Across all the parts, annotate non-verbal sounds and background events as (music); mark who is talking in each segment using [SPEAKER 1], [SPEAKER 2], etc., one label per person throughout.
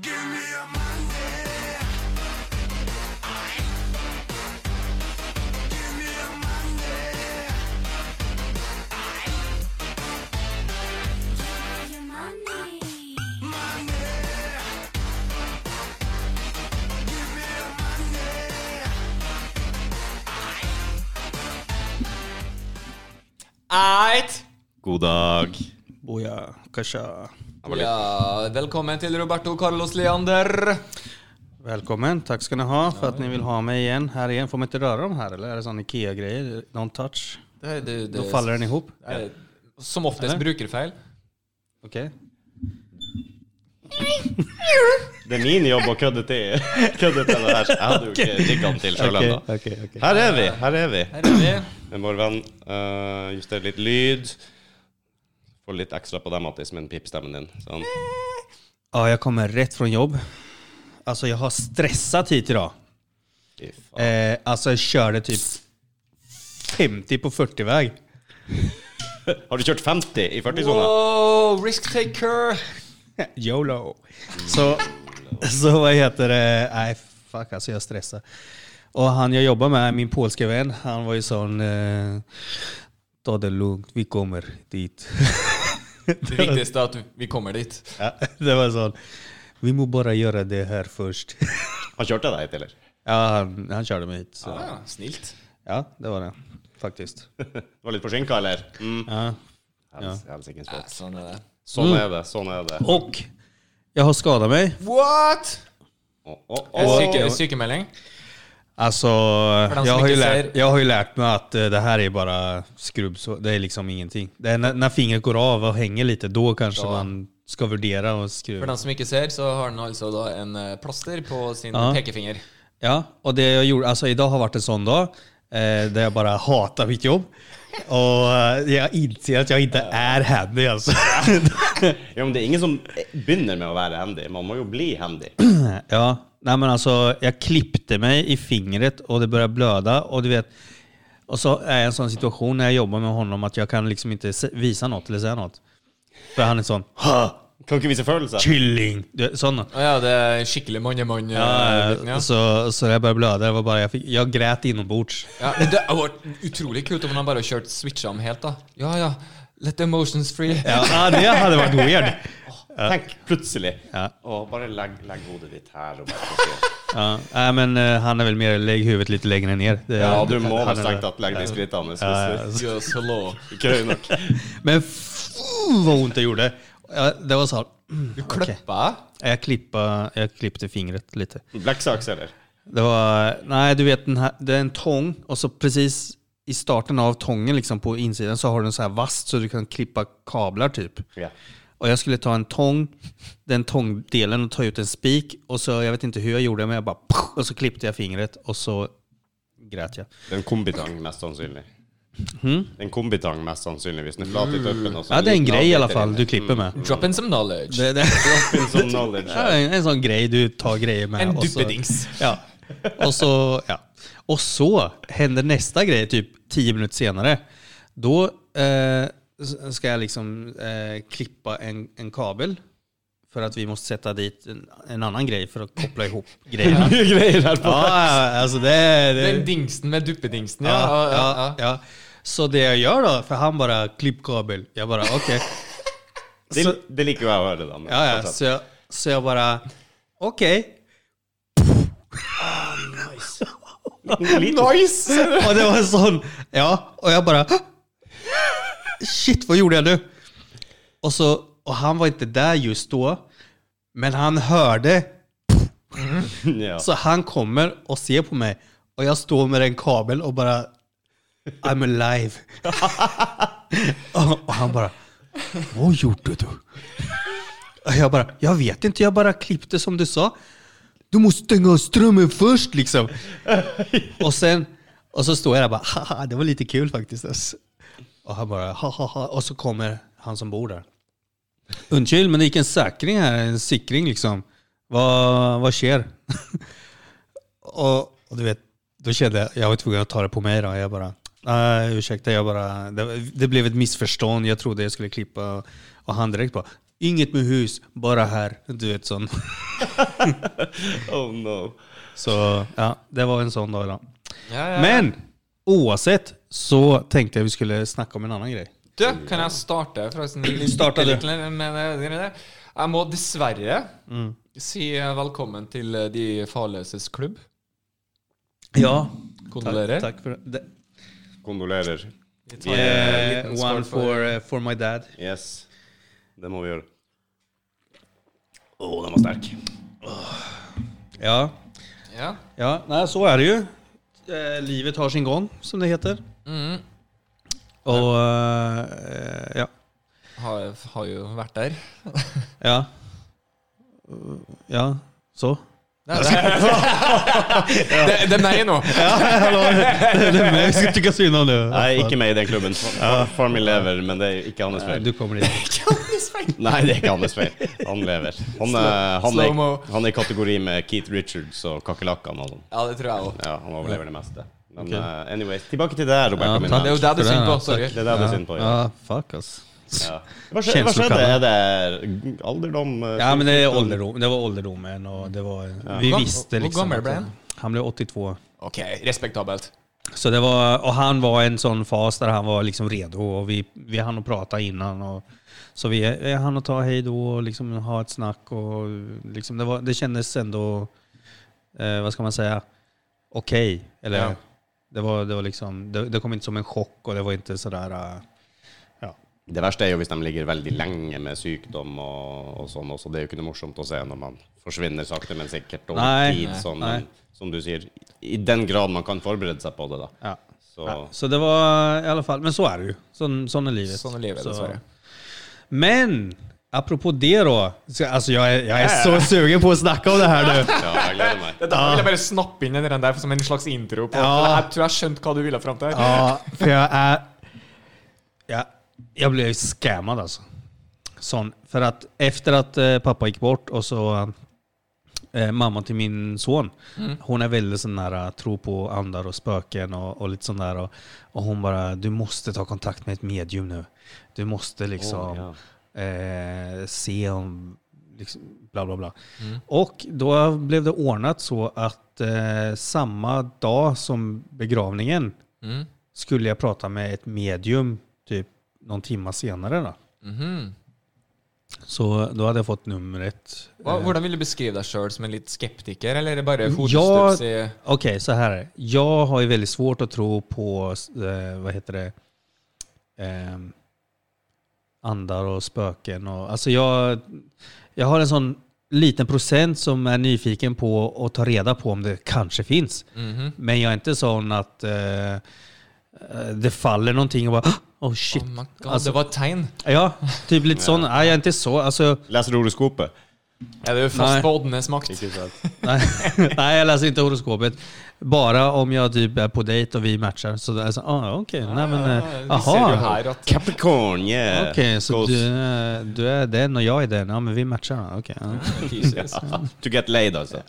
[SPEAKER 1] Give me a Monday. Give me a Monday. Monday. Give me a Monday.
[SPEAKER 2] Ajt!
[SPEAKER 3] God dag.
[SPEAKER 4] Boja, kasha.
[SPEAKER 2] Ja, välkommen till Roberto Carlos Leander.
[SPEAKER 4] Välkommen, tack ska ni ha för att ni vill ha mig igen. Här igen, får man inte röra dem här eller? Är det sån IKEA-grejer? Någon touch?
[SPEAKER 2] Det här, det, det,
[SPEAKER 4] Då faller den ihop?
[SPEAKER 2] Eh, Som oftast
[SPEAKER 4] Eller? (clears throat)
[SPEAKER 2] brukarfel.
[SPEAKER 4] Okej.
[SPEAKER 3] Det är min jobb att kuddet är... Kuddet är det här. Ja, du, okej. Gick om till Sjöland då.
[SPEAKER 4] okej, okej.
[SPEAKER 3] Här är vi, här är vi.
[SPEAKER 2] Här är vi.
[SPEAKER 3] Men vår vän, eh, just det, lite ljud. Får lite extra på den Mattis, men pipstämmen din. Sånn.
[SPEAKER 4] Ja, jag kommer rätt från jobb. Alltså jag har stressat hit idag.
[SPEAKER 3] Fy fan.
[SPEAKER 4] Eh, alltså jag körde typ 50 på 40-väg.
[SPEAKER 3] Har du kört 50 i 40 sådana?
[SPEAKER 2] Wow, risk taker.
[SPEAKER 4] (laughs) YOLO. Så, så vad heter det? Nej, fuck alltså jag stressar. Och han jag jobbar med, min polska vän, han var ju sån... Eh, Ta det lugnt, vi kommer dit. (laughs)
[SPEAKER 2] Det viktigaste är att vi kommer dit.
[SPEAKER 4] Ja, (laughs) det var sån... Vi må bara göra det här först.
[SPEAKER 3] Har kört det dit eller?
[SPEAKER 4] (laughs)
[SPEAKER 3] (laughs)
[SPEAKER 4] Ja, han, han körde mig hit. Så.
[SPEAKER 2] Ah, snilt.
[SPEAKER 4] Ja, det var det. Faktiskt.
[SPEAKER 3] Var lite försinkad eller? Mm.
[SPEAKER 4] Ja. Mm.
[SPEAKER 3] Hells- Helsikens
[SPEAKER 2] Ja,
[SPEAKER 3] folk.
[SPEAKER 2] sån är det.
[SPEAKER 3] Sån är det, sån är det.
[SPEAKER 4] Och jag har skadat mig.
[SPEAKER 2] What?
[SPEAKER 3] Åh, åh,
[SPEAKER 2] En
[SPEAKER 3] åh.
[SPEAKER 2] psyke, sykemelding?
[SPEAKER 4] Alltså,
[SPEAKER 2] de som
[SPEAKER 4] jag har, ju
[SPEAKER 2] inte
[SPEAKER 4] lärt,
[SPEAKER 2] ser-
[SPEAKER 4] jag har ju lärt mig att eh, det här är bara skrubb, så det är liksom ingenting. Det är när, när fingret går av och hänger lite, då kanske
[SPEAKER 2] Ja.
[SPEAKER 4] man ska värdera och
[SPEAKER 2] För
[SPEAKER 4] skruva.
[SPEAKER 2] de som inte ser så har han alltså då en eh, plåster på sin
[SPEAKER 4] Ja.
[SPEAKER 2] pekefinger.
[SPEAKER 4] Ja, och det jag gjorde, alltså idag har varit en sån dag eh, där jag bara hatar
[SPEAKER 2] (laughs)
[SPEAKER 4] mitt jobb. Och eh, jag inser att jag inte är handy alltså.
[SPEAKER 3] Ja, men det är ingen som eh, begynner med att vara handy. Man måste ju bli handy.
[SPEAKER 4] ja, nej men alltså jag klippte mig i fingret och det började blöda och du vet och så är jag i en sån situation när jag jobbar med honom att jag kan liksom inte se- visa något eller säga något. För han är sån ha,
[SPEAKER 3] Kan inte visa følelser.
[SPEAKER 4] kylling, du vet, sån.
[SPEAKER 2] Ah, ja, det är skicklig man-i-man.
[SPEAKER 4] Ja, så, så jag började blöda, det var bara, jag, fick, jag grät inombords.
[SPEAKER 2] Ja, men det har varit utrolig kult om han bara har kört switcha om helt då. Ja, ja. Let the emotions free.
[SPEAKER 4] Ja, ah, det hade varit weird.
[SPEAKER 3] Tänk plutselig.
[SPEAKER 4] Ja.
[SPEAKER 3] Åh, bara lägg, lägg hodet ditt här (laughs) och bara
[SPEAKER 4] Ja, nej, men eh, han är väl mer, lägg huvudet lite längre ner. Det-
[SPEAKER 3] Ja, du må
[SPEAKER 4] han är
[SPEAKER 3] väl strengt
[SPEAKER 4] det.
[SPEAKER 3] tatt legge de skrittene.
[SPEAKER 4] Ja, ja.
[SPEAKER 3] Ja,
[SPEAKER 2] Yes, hello.
[SPEAKER 3] ja.
[SPEAKER 4] Men f- vad ont det gjorde. Ja, det var så här, (clears throat)
[SPEAKER 2] Du klippa?
[SPEAKER 4] Jag, klippa, jag klippte fingret lite.
[SPEAKER 3] Black socks, eller?
[SPEAKER 4] Det var, nej du vet den här, det är en tång och så precis i starten av tången liksom på insidan så har du en så här vass så du kan klippa kablar typ.
[SPEAKER 3] Ja.
[SPEAKER 4] Och jag skulle ta en tång, den tångdelen och ta ut en spik och så, jag vet inte hur jag gjorde men jag bara och så klippte jag fingret och så grät jag.
[SPEAKER 3] Det är en kombitang, mest sannsynlig. En kombitang, mest sannsynlig. Hvis den er flat i toppen. og så
[SPEAKER 4] Hmm? Ja det Mm. är en
[SPEAKER 3] liten
[SPEAKER 4] grej i alla
[SPEAKER 3] avbiter
[SPEAKER 4] fall du
[SPEAKER 3] inni.
[SPEAKER 4] klipper med.
[SPEAKER 2] Drop in some knowledge.
[SPEAKER 4] Det, det,
[SPEAKER 3] Mm.
[SPEAKER 4] (laughs)
[SPEAKER 3] Som knowledge.
[SPEAKER 4] det är en, en sån grej du tar grejer med.
[SPEAKER 2] En
[SPEAKER 4] och så-
[SPEAKER 2] duppedings.
[SPEAKER 4] Ja. Och så, ja. och så händer nästa grej typ tio minuter senare. Då eh, s- ska jag liksom eh, klippa en, en kabel för att vi måste sätta dit en, en annan grej för att koppla (laughs) ihop grejerna.
[SPEAKER 3] Mye greier her på.
[SPEAKER 4] Ja, alltså det är... Det,
[SPEAKER 2] Den dingsen med duppedingsen, ja.
[SPEAKER 4] ja,
[SPEAKER 2] ja,
[SPEAKER 4] ja, ja. Så det jag gör då, för han bara klipp kabel. Jag bara okej.
[SPEAKER 3] Det,
[SPEAKER 4] Så,
[SPEAKER 3] det liker jo jeg å høre, da. men
[SPEAKER 4] ja, (laughs) ja,
[SPEAKER 3] fortsatt.
[SPEAKER 4] så, jag, så jag bara okej.
[SPEAKER 3] Liten-
[SPEAKER 4] (laughs) Och det var en sån, ja, och jag bara Shit, vad gjorde jag nu? Och, så, och han var inte där just då, men han hörde,
[SPEAKER 3] (laughs) Ja.
[SPEAKER 4] så han kommer och ser på mig. Och jag står med en kabel och bara I'm alive. och, och han bara Vad gjorde du? Och jag bara, jag vet inte, jag bara klippte som du sa. Du måste stänga av strömmen först liksom. Och sen, och så står jag där och bara, haha, det var lite kul faktiskt. alltså." Och han bara, haha, och så kommer han som bor där. Undskyld, men det gick en säkring här, en sikring liksom. Vad, vad sker? och, och du vet, Då kände jag, jag var tvungen att ta det på mig då. Jag bara, nej ursäkta, jag bara, det, det blev ett missförstånd. Jag trodde jag skulle klippa och han direkt bara, inget med hus, bara här. Du vet sån. (laughs)
[SPEAKER 3] Oh no.
[SPEAKER 4] Så ja, det var en sån dag idag.
[SPEAKER 2] Ja, ja.
[SPEAKER 4] Men oavsett så tänkte jag vi skulle snacka om en annan grej.
[SPEAKER 2] Du, kan jeg starte? Forresten,
[SPEAKER 4] (clears throat) Starta du.
[SPEAKER 2] Jeg må dessverre
[SPEAKER 4] Mm.
[SPEAKER 2] si eh, velkommen til De farløses klubb.
[SPEAKER 4] Ja,
[SPEAKER 2] Kondolerer.
[SPEAKER 4] Tack, tack för det.
[SPEAKER 3] Kondolerer.
[SPEAKER 2] Vi tar en
[SPEAKER 4] Eh,
[SPEAKER 2] liten skål
[SPEAKER 4] one for, eh, for my dad.
[SPEAKER 3] Yes. Det må vi gjøre. Å, den var sterk.
[SPEAKER 4] Ja,
[SPEAKER 2] Ja.
[SPEAKER 4] ja nej, så är det ju. Eh, livet har sin gång, som det heter.
[SPEAKER 2] Mm.
[SPEAKER 4] Och eh, ja.
[SPEAKER 2] Har, har jo vært der.
[SPEAKER 4] Ja. Ja, så.
[SPEAKER 2] Det er, det, det er meg nå.
[SPEAKER 4] (laughs) Det är mig. Jag ska tycka synd om det.
[SPEAKER 3] Nei, ikke med i den klubben. Far- Far min lever, men det er ikke hans (laughs) feil.
[SPEAKER 4] Du kommer dit.
[SPEAKER 3] Nei, det er ikke hans feil. Han lever. Han, er- han,
[SPEAKER 2] slow-mo.
[SPEAKER 3] er, han er i kategori med Keith Richards og kakerlakkene og sånn.
[SPEAKER 2] Ja, det tror jeg òg.
[SPEAKER 3] Ja, han overlever det meste. Men
[SPEAKER 4] Ok.
[SPEAKER 3] eh, anyways, tilbake til deg, Roberto.
[SPEAKER 4] Ja,
[SPEAKER 3] min
[SPEAKER 4] takk.
[SPEAKER 2] Det er
[SPEAKER 3] venn.
[SPEAKER 2] jo det du
[SPEAKER 4] For
[SPEAKER 2] synger
[SPEAKER 4] den,
[SPEAKER 2] på.
[SPEAKER 4] ja.
[SPEAKER 2] Sorry.
[SPEAKER 3] Det er det du er synd på. Ja.
[SPEAKER 4] Ja, fuck ass.
[SPEAKER 3] Ja. Hva, skjer, hva skjedde? Er det alderdom? eh,
[SPEAKER 4] Ja, men det, är ålderdom, det var ålderdomen och det var... Vi
[SPEAKER 2] Hur gam-
[SPEAKER 4] visste
[SPEAKER 2] hur
[SPEAKER 4] liksom...
[SPEAKER 2] gammal
[SPEAKER 4] att-
[SPEAKER 2] blev han?
[SPEAKER 4] Han blev 82.
[SPEAKER 2] Ok, respektabelt.
[SPEAKER 4] Så det var, och han var i en sån fas där han var liksom redo och vi, vi hann att prata innan. Och, så vi eh, hann att ta hej då och liksom ha ett snack. Och, liksom det, var, det kändes ändå, eh, vad ska man säga, okej. Eller
[SPEAKER 2] Ja.
[SPEAKER 4] det, var, det, var liksom, det, det kom inte som en chock og det var inte sådär... eh, Ja.
[SPEAKER 3] Det verste er jo hvis de ligger veldig lenge med sykdom og, og sånn også. Det er jo ikke noe morsomt å se når man forsvinner sakte, men sikkert over
[SPEAKER 4] Nei,
[SPEAKER 3] tid.
[SPEAKER 4] nei,
[SPEAKER 3] Sånn,
[SPEAKER 4] nei.
[SPEAKER 3] men som du sier, i den grad man kan forberede seg på det, da.
[SPEAKER 4] Ja.
[SPEAKER 3] Så
[SPEAKER 4] Ja, så det var i alla fall, men så är det ju. Sån, sån är livet.
[SPEAKER 2] Sånn er livet,
[SPEAKER 4] Så-
[SPEAKER 2] dessverre.
[SPEAKER 4] Men, apropå det då. så- Alltså jag är, jag är så sugen på att snacka om det här nu.
[SPEAKER 3] ja, jeg gleder meg.
[SPEAKER 2] Det der vil jeg bare snappe inn den der som en slags intro. på
[SPEAKER 4] Ja.
[SPEAKER 2] Jeg tror jeg skjønte hva du ville fram til.
[SPEAKER 4] Ja, för jag är... Jag, jag blev scammad alltså. Sån. För att efter att eh, pappa gick bort och så eh, mamma till min son. Hon är väldigt sån där, eh, tro på andar och spöken och, och lite sån där. Och, och hon bara, du måste ta kontakt med ett medium nu. Du måste liksom
[SPEAKER 3] Åh,
[SPEAKER 4] eh, se om... Liksom, bla bla bla. Och då blev det ordnat så att eh, samma dag som begravningen
[SPEAKER 2] Mm.
[SPEAKER 4] skulle jag prata med ett medium typ någon timma senare. Då.
[SPEAKER 2] Mhm.
[SPEAKER 4] Så då hade jag fått numret.
[SPEAKER 2] Hva, hvordan vil du beskrive deg sjøl? Som en litt skeptiker, eller er det bare
[SPEAKER 4] Eh. Ja.
[SPEAKER 2] hodestups i
[SPEAKER 4] Okej, så här är det. Jag har ju väldigt svårt att tro på, eh, vad heter det, Ehm, andar och spöken. Och, alltså jag, jag har en sån liten procent som är nyfiken på att ta reda på om det kanske finns.
[SPEAKER 2] Mhm.
[SPEAKER 4] Men jag är inte sån att eh, eh, det faller någonting och bara oh shit.
[SPEAKER 2] Oh my God,
[SPEAKER 4] Alltså-
[SPEAKER 2] det var et tegn.
[SPEAKER 4] Ja, typ lite sån. Nej, jag är inte så. Alltså, (laughs)
[SPEAKER 3] Leser horoskopet.
[SPEAKER 2] Ja, det er jo fast
[SPEAKER 4] Nei.
[SPEAKER 2] på oddenes makt.
[SPEAKER 3] Ikke sant?
[SPEAKER 4] nej, nej, jag läser inte horoskopet. Bara om jag typ är på dejt och vi matchar. Så det är så, ah, okej. nej, men, eh,
[SPEAKER 2] Vi ser jo
[SPEAKER 4] aha.
[SPEAKER 2] her at
[SPEAKER 3] Capricorn, yeah!
[SPEAKER 4] Okej, så
[SPEAKER 3] Goes
[SPEAKER 4] du,
[SPEAKER 3] (laughs)
[SPEAKER 4] är- du är den och jag är den. Ja, men vi matchar. Okej. ja.
[SPEAKER 2] Jesus.
[SPEAKER 3] To get laid, alltså.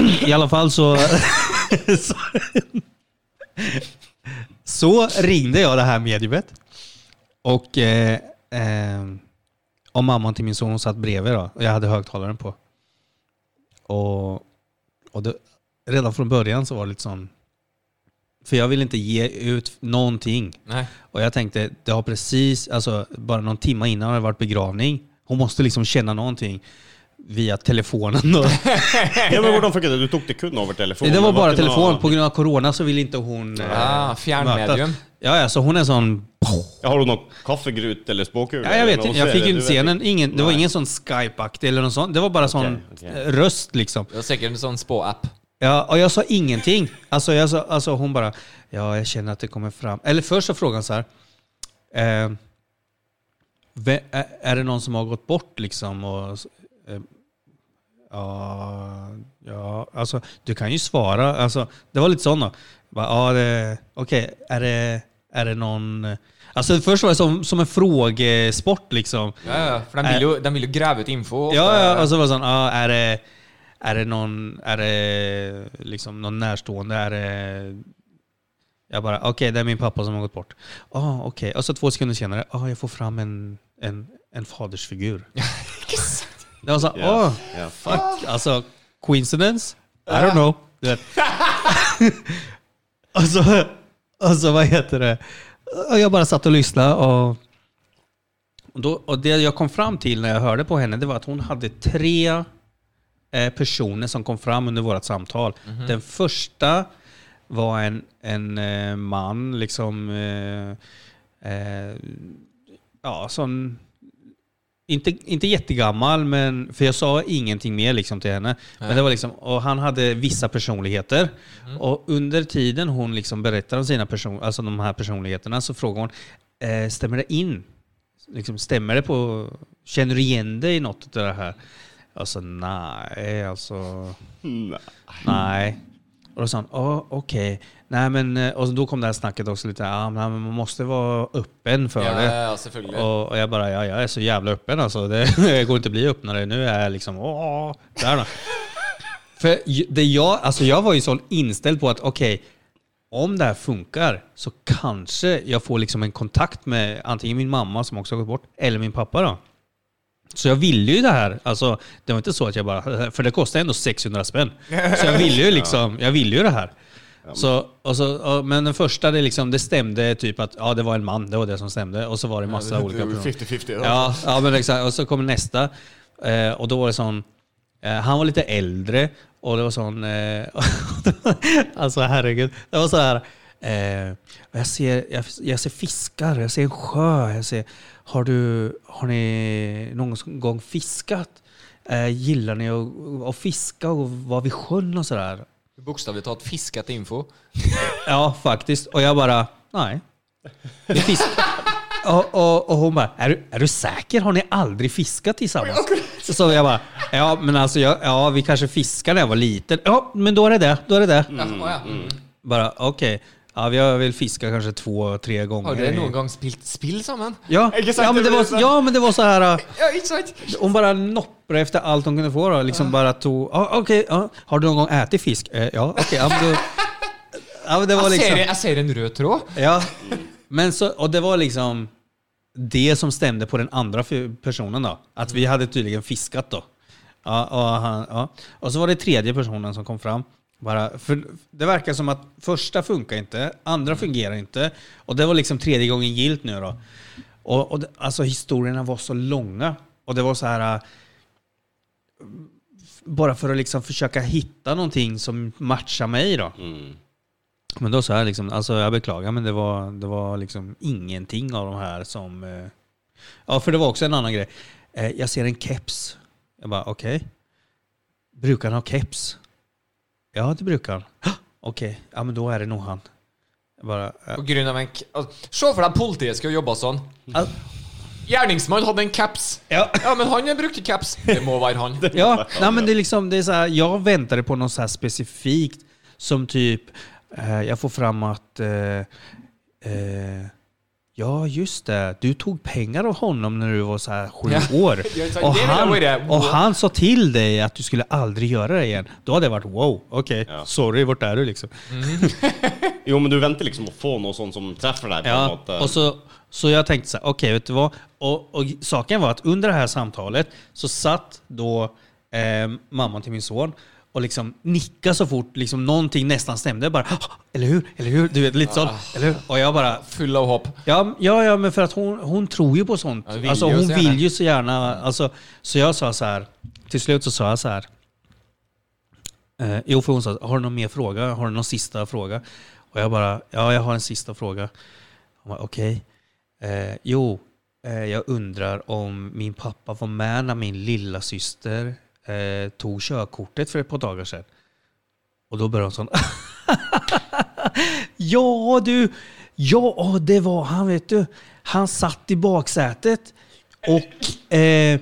[SPEAKER 3] altså.
[SPEAKER 4] I alla fall så... så, så ringde jag det här mediumet. Och, eh, eh, och mamman till min son hon satt bredvid då. Och jag hade högtalaren på. Och, och det, redan från början så var det lite sån... För jag ville inte ge ut någonting.
[SPEAKER 2] Nei.
[SPEAKER 4] Och jag tänkte, det har precis, alltså bara någon timme innan har det varit begravning. Hon måste liksom känna någonting via telefonen då.
[SPEAKER 3] Ja, men hvordan funket det? Du tok det kun over telefonen?
[SPEAKER 4] Det var bara
[SPEAKER 3] ikke noe-
[SPEAKER 4] telefon. På grund av corona så vill inte hon eh,
[SPEAKER 2] Ah, fjärrmedium.
[SPEAKER 4] mötas. Ja, ja, så hon är sån...
[SPEAKER 3] Ja, har du noe kaffegrut eller spåkule?
[SPEAKER 4] Ja, jag vet inte, jag fick ju
[SPEAKER 3] Du
[SPEAKER 4] inte
[SPEAKER 3] vet
[SPEAKER 4] se den. Ingen, det var
[SPEAKER 3] Nej.
[SPEAKER 4] ingen sån Skype-aktig eller något sånt. Det var bara sån
[SPEAKER 3] okej.
[SPEAKER 4] eh, röst liksom.
[SPEAKER 2] Det var sikkert en sånn spå-app.
[SPEAKER 4] Ja, och jag sa ingenting. Alltså, jag sa, alltså hon bara, ja jag känner att det kommer fram. Eller först så frågade hon så här, eh, ve- ä- är det någon som har gått bort liksom? Och, s- eh, ja, ja, alltså du kan ju svara. Alltså, det var lite sån då. Jag Bara, ja, det- okej, är, det, är det någon... Alltså först var det som, som en frågesport liksom.
[SPEAKER 2] Ja, ja, for de vil, jo, de vil jo grave ut info.
[SPEAKER 4] Ja, ja, och så var det sån, ja, ah, är det... Är det någon, är det liksom någon närstående? Är det... Jag bara, okej det är min pappa som har gått bort. Ah, okej. Och så två sekunder senare, ah, jag får fram en, en, en fadersfigur. Det var så,
[SPEAKER 3] Ja.
[SPEAKER 4] ah,
[SPEAKER 3] Ja.
[SPEAKER 4] fuck. Alltså, coincidence? I don't know. Du vet. (laughs) och, så, och så, vad heter det? Och jag bara satt och lyssnade och, och, då, och det jag kom fram till när jag hörde på henne, det var att hon hade tre eh, personer som kom fram under vårt samtal. Den första var en, en eh, man, liksom, eh, eh, ja, som inte, inte jättegammal, men, för jag sa ingenting mer liksom, till henne. Men det var liksom, och han hade vissa personligheter. Och under tiden hon liksom berättar om sina person, alltså de här personligheterna så frågar hon, eh, stämmer det in? Liksom, stämmer det på... Känner du igen dig i något av det här? Alltså nej, alltså...
[SPEAKER 3] Nej.
[SPEAKER 4] Nej. Och då sa han, ja okej. Nej men, eh, och då kom det här snacket också lite, ja men man måste vara öppen för
[SPEAKER 2] Ja,
[SPEAKER 4] det.
[SPEAKER 2] ja, selvfølgelig.
[SPEAKER 4] Och, och jag bara, ja jag är så jävla öppen alltså. Det (laughs) går inte att bli öppnare. Nu är jag liksom, åh,
[SPEAKER 5] (laughs)
[SPEAKER 4] där då. För ju- det jag, alltså jag var ju så inställd på att okej, om det här funkar så kanske jag får liksom en kontakt med antingen min mamma som också har gått bort, eller min pappa då. Så jag ville ju det här. Alltså, det var inte så att jag bara... (laughs) För det kostar ändå 600 spänn. Så
[SPEAKER 5] (laughs)
[SPEAKER 4] jag ville ju liksom... Jag ville ju det här. Så, och så, och, men den första, det, liksom, det stämde typ att ja, det var en man, det var det som stämde. Och så var det massa olika
[SPEAKER 5] det var
[SPEAKER 4] personer.
[SPEAKER 5] 50-50 då.
[SPEAKER 4] Ja, ja men exakt. Och så kom nästa. Eh, och då var det sån... Eh, han var lite äldre och det var sån... Eh, (laughs) alltså herregud. Det var så här... Eh, jag, ser, jag, jag ser fiskar, jag ser en sjö. Jag ser, har, du, har ni någon gång fiskat? Eh, gillar ni att, att fiska och vara vid sjön och sådär?
[SPEAKER 2] Bokstavligt talat fiskat info.
[SPEAKER 4] Ja, faktiskt. Och jag bara, nej. Det finns... (laughs) och, och, och hon bara, är du, är du säker? Har ni aldrig fiskat tillsammans? Så, så jag bara, ja men alltså jag, ja, vi kanske fiskade när jag var liten. Ja, men då är det det. Då är det det.
[SPEAKER 2] Ja, ja.
[SPEAKER 4] Bara, okej. Ja, vi har väl fiskat kanske två, tre gånger.
[SPEAKER 2] Har dere
[SPEAKER 4] i-
[SPEAKER 2] noen gang spilt spill sammen?
[SPEAKER 4] Ja,
[SPEAKER 5] Exakt,
[SPEAKER 4] ja, men det
[SPEAKER 5] det
[SPEAKER 4] var,
[SPEAKER 5] blir så-
[SPEAKER 4] ja, men det var så här... äh,
[SPEAKER 2] Ja, ikke sant?
[SPEAKER 4] Hon bara noppade efter allt hon kunde få. Då. Liksom bara tog, ja, okej, ja. har du någon gång ätit fisk? Eh, ja, okej. ja, men (laughs) då- ja, men det var
[SPEAKER 2] Jeg
[SPEAKER 4] liksom...
[SPEAKER 2] ser, jeg ser en rød tråd.
[SPEAKER 4] Ja. Mm. Men så, och det var liksom det som stämde på den andra f- personen då. Att vi hade tydligen fiskat då. Ja, och, han, ja. och så var det tredje personen som kom fram. Bara, för det verkar som att första funkar inte, andra fungerar inte. Och det var liksom tredje gången gilt nu då. Och, och det, alltså historierna var så långa. Och det var så här... äh, Bara för att liksom försöka hitta någonting som matchar mig då.
[SPEAKER 3] Mm.
[SPEAKER 4] Men då sa jag liksom, alltså jag beklagar men det var, det var liksom ingenting av de här som... eh, Ja, för det var också en annan grej. Eh, Jag ser en keps. Jag bara, okej. Brukar han ha keps? Ja, det brukar han. (gasps) "Hå! Okej, ja men då är det nog han. Jag bara, eh,
[SPEAKER 2] På grunn av en k altså, Se for deg politiet skulle jobba sånn.
[SPEAKER 4] Al-
[SPEAKER 2] Gjerningsmannen hadde en caps.
[SPEAKER 4] ja.
[SPEAKER 2] Ja, men han brukte caps. Det må være han. (laughs)
[SPEAKER 4] Ja, nej, men det är liksom, det är så här, jag väntade på något så här specifikt som typ, eh, jag får fram att, eh, eh, ja just det, du tog pengar av honom när du var så här sju
[SPEAKER 2] Ja.
[SPEAKER 4] år.
[SPEAKER 2] (laughs) Jag sa,
[SPEAKER 4] Och
[SPEAKER 2] "Det där var det."
[SPEAKER 4] han, och han sa till dig att du skulle aldrig göra det igen. Då hade jag varit wow, okej,
[SPEAKER 3] Ja.
[SPEAKER 4] sorry, vart är du liksom?
[SPEAKER 3] Jo, men du venter liksom å få noe sånt som treffer deg. på en
[SPEAKER 4] Ja,
[SPEAKER 3] måte.
[SPEAKER 4] och så, så jag tänkte så här, okej, vet du vad? Och, och saken var att under det här samtalet så satt då eh, mamman till min son och liksom nickade så fort liksom någonting nästan stämde. Bara, "Ah, eller hur? Eller hur? Du vet, lite sånt. Eller hur? Och jag bara,
[SPEAKER 2] Full av håp.
[SPEAKER 4] Ja, ja, ja men för att hon, hon tror ju på sånt.
[SPEAKER 2] Ja, vill
[SPEAKER 4] alltså,
[SPEAKER 2] ju
[SPEAKER 4] hon
[SPEAKER 2] så gärna.
[SPEAKER 4] vill ju så gärna. Alltså, så jag sa så här, till slut så sa jag så här. Eh, jo, för hon sa, har du någon mer fråga? Har du någon sista fråga? Och jag bara, ja jag har en sista fråga. Hon bara, okej. Eh, jo, eh, jag undrar om min pappa var med när min lilla syster eh, tog körkortet för ett par dagar sedan. Och då började hon sån, Ja du! Ja, det var han vet du. Han satt i baksätet och, eh,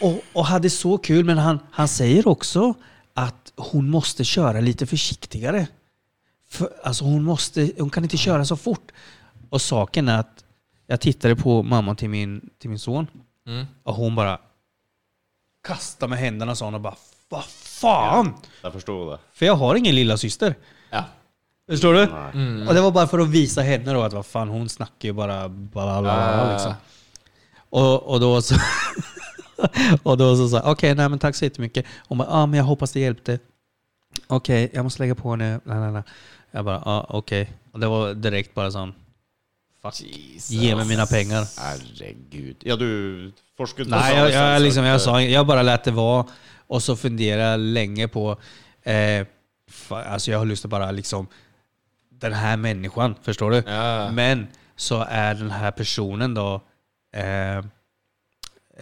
[SPEAKER 4] och, och hade så kul. Men han, han säger också att hon måste köra lite försiktigare. För, alltså hon, måste, hon kan inte köra så fort. Och saken är att jag tittade på mamma till min, till min son och hon bara kastade med händerna och sa hon och bara Vad fan!
[SPEAKER 3] Jeg forsto det.
[SPEAKER 4] För jag har ingen lilla syster.
[SPEAKER 2] Ja.
[SPEAKER 4] Förstår du?
[SPEAKER 3] Nei.
[SPEAKER 4] Och det var bara för att visa henne då att vad fan, hon snackar ju bara balala,
[SPEAKER 2] Ah.
[SPEAKER 4] liksom. Och, och då så... (laughs) och då så sa jag, okej, nej men tack så jättemycket. Hon bara, ah, men jag hoppas det hjälpte. Okej, jag måste lägga på nu. Nej, nej, nej. Jag bara, ah, okej. Och det var direkt bara sån, fuck,
[SPEAKER 2] Jesus.
[SPEAKER 4] ge mig mina pengar.
[SPEAKER 3] Herregud. Ja, du forsket på
[SPEAKER 4] Nej, jag,
[SPEAKER 3] samme
[SPEAKER 4] jag,
[SPEAKER 3] sensor.
[SPEAKER 4] liksom, jag, sa, jag bara lät det vara och så funderade jag länge på... Eh, fan, alltså jag har lust att bara liksom... Den här människan, förstår du?
[SPEAKER 2] Ja.
[SPEAKER 4] Men så är den här personen då eh,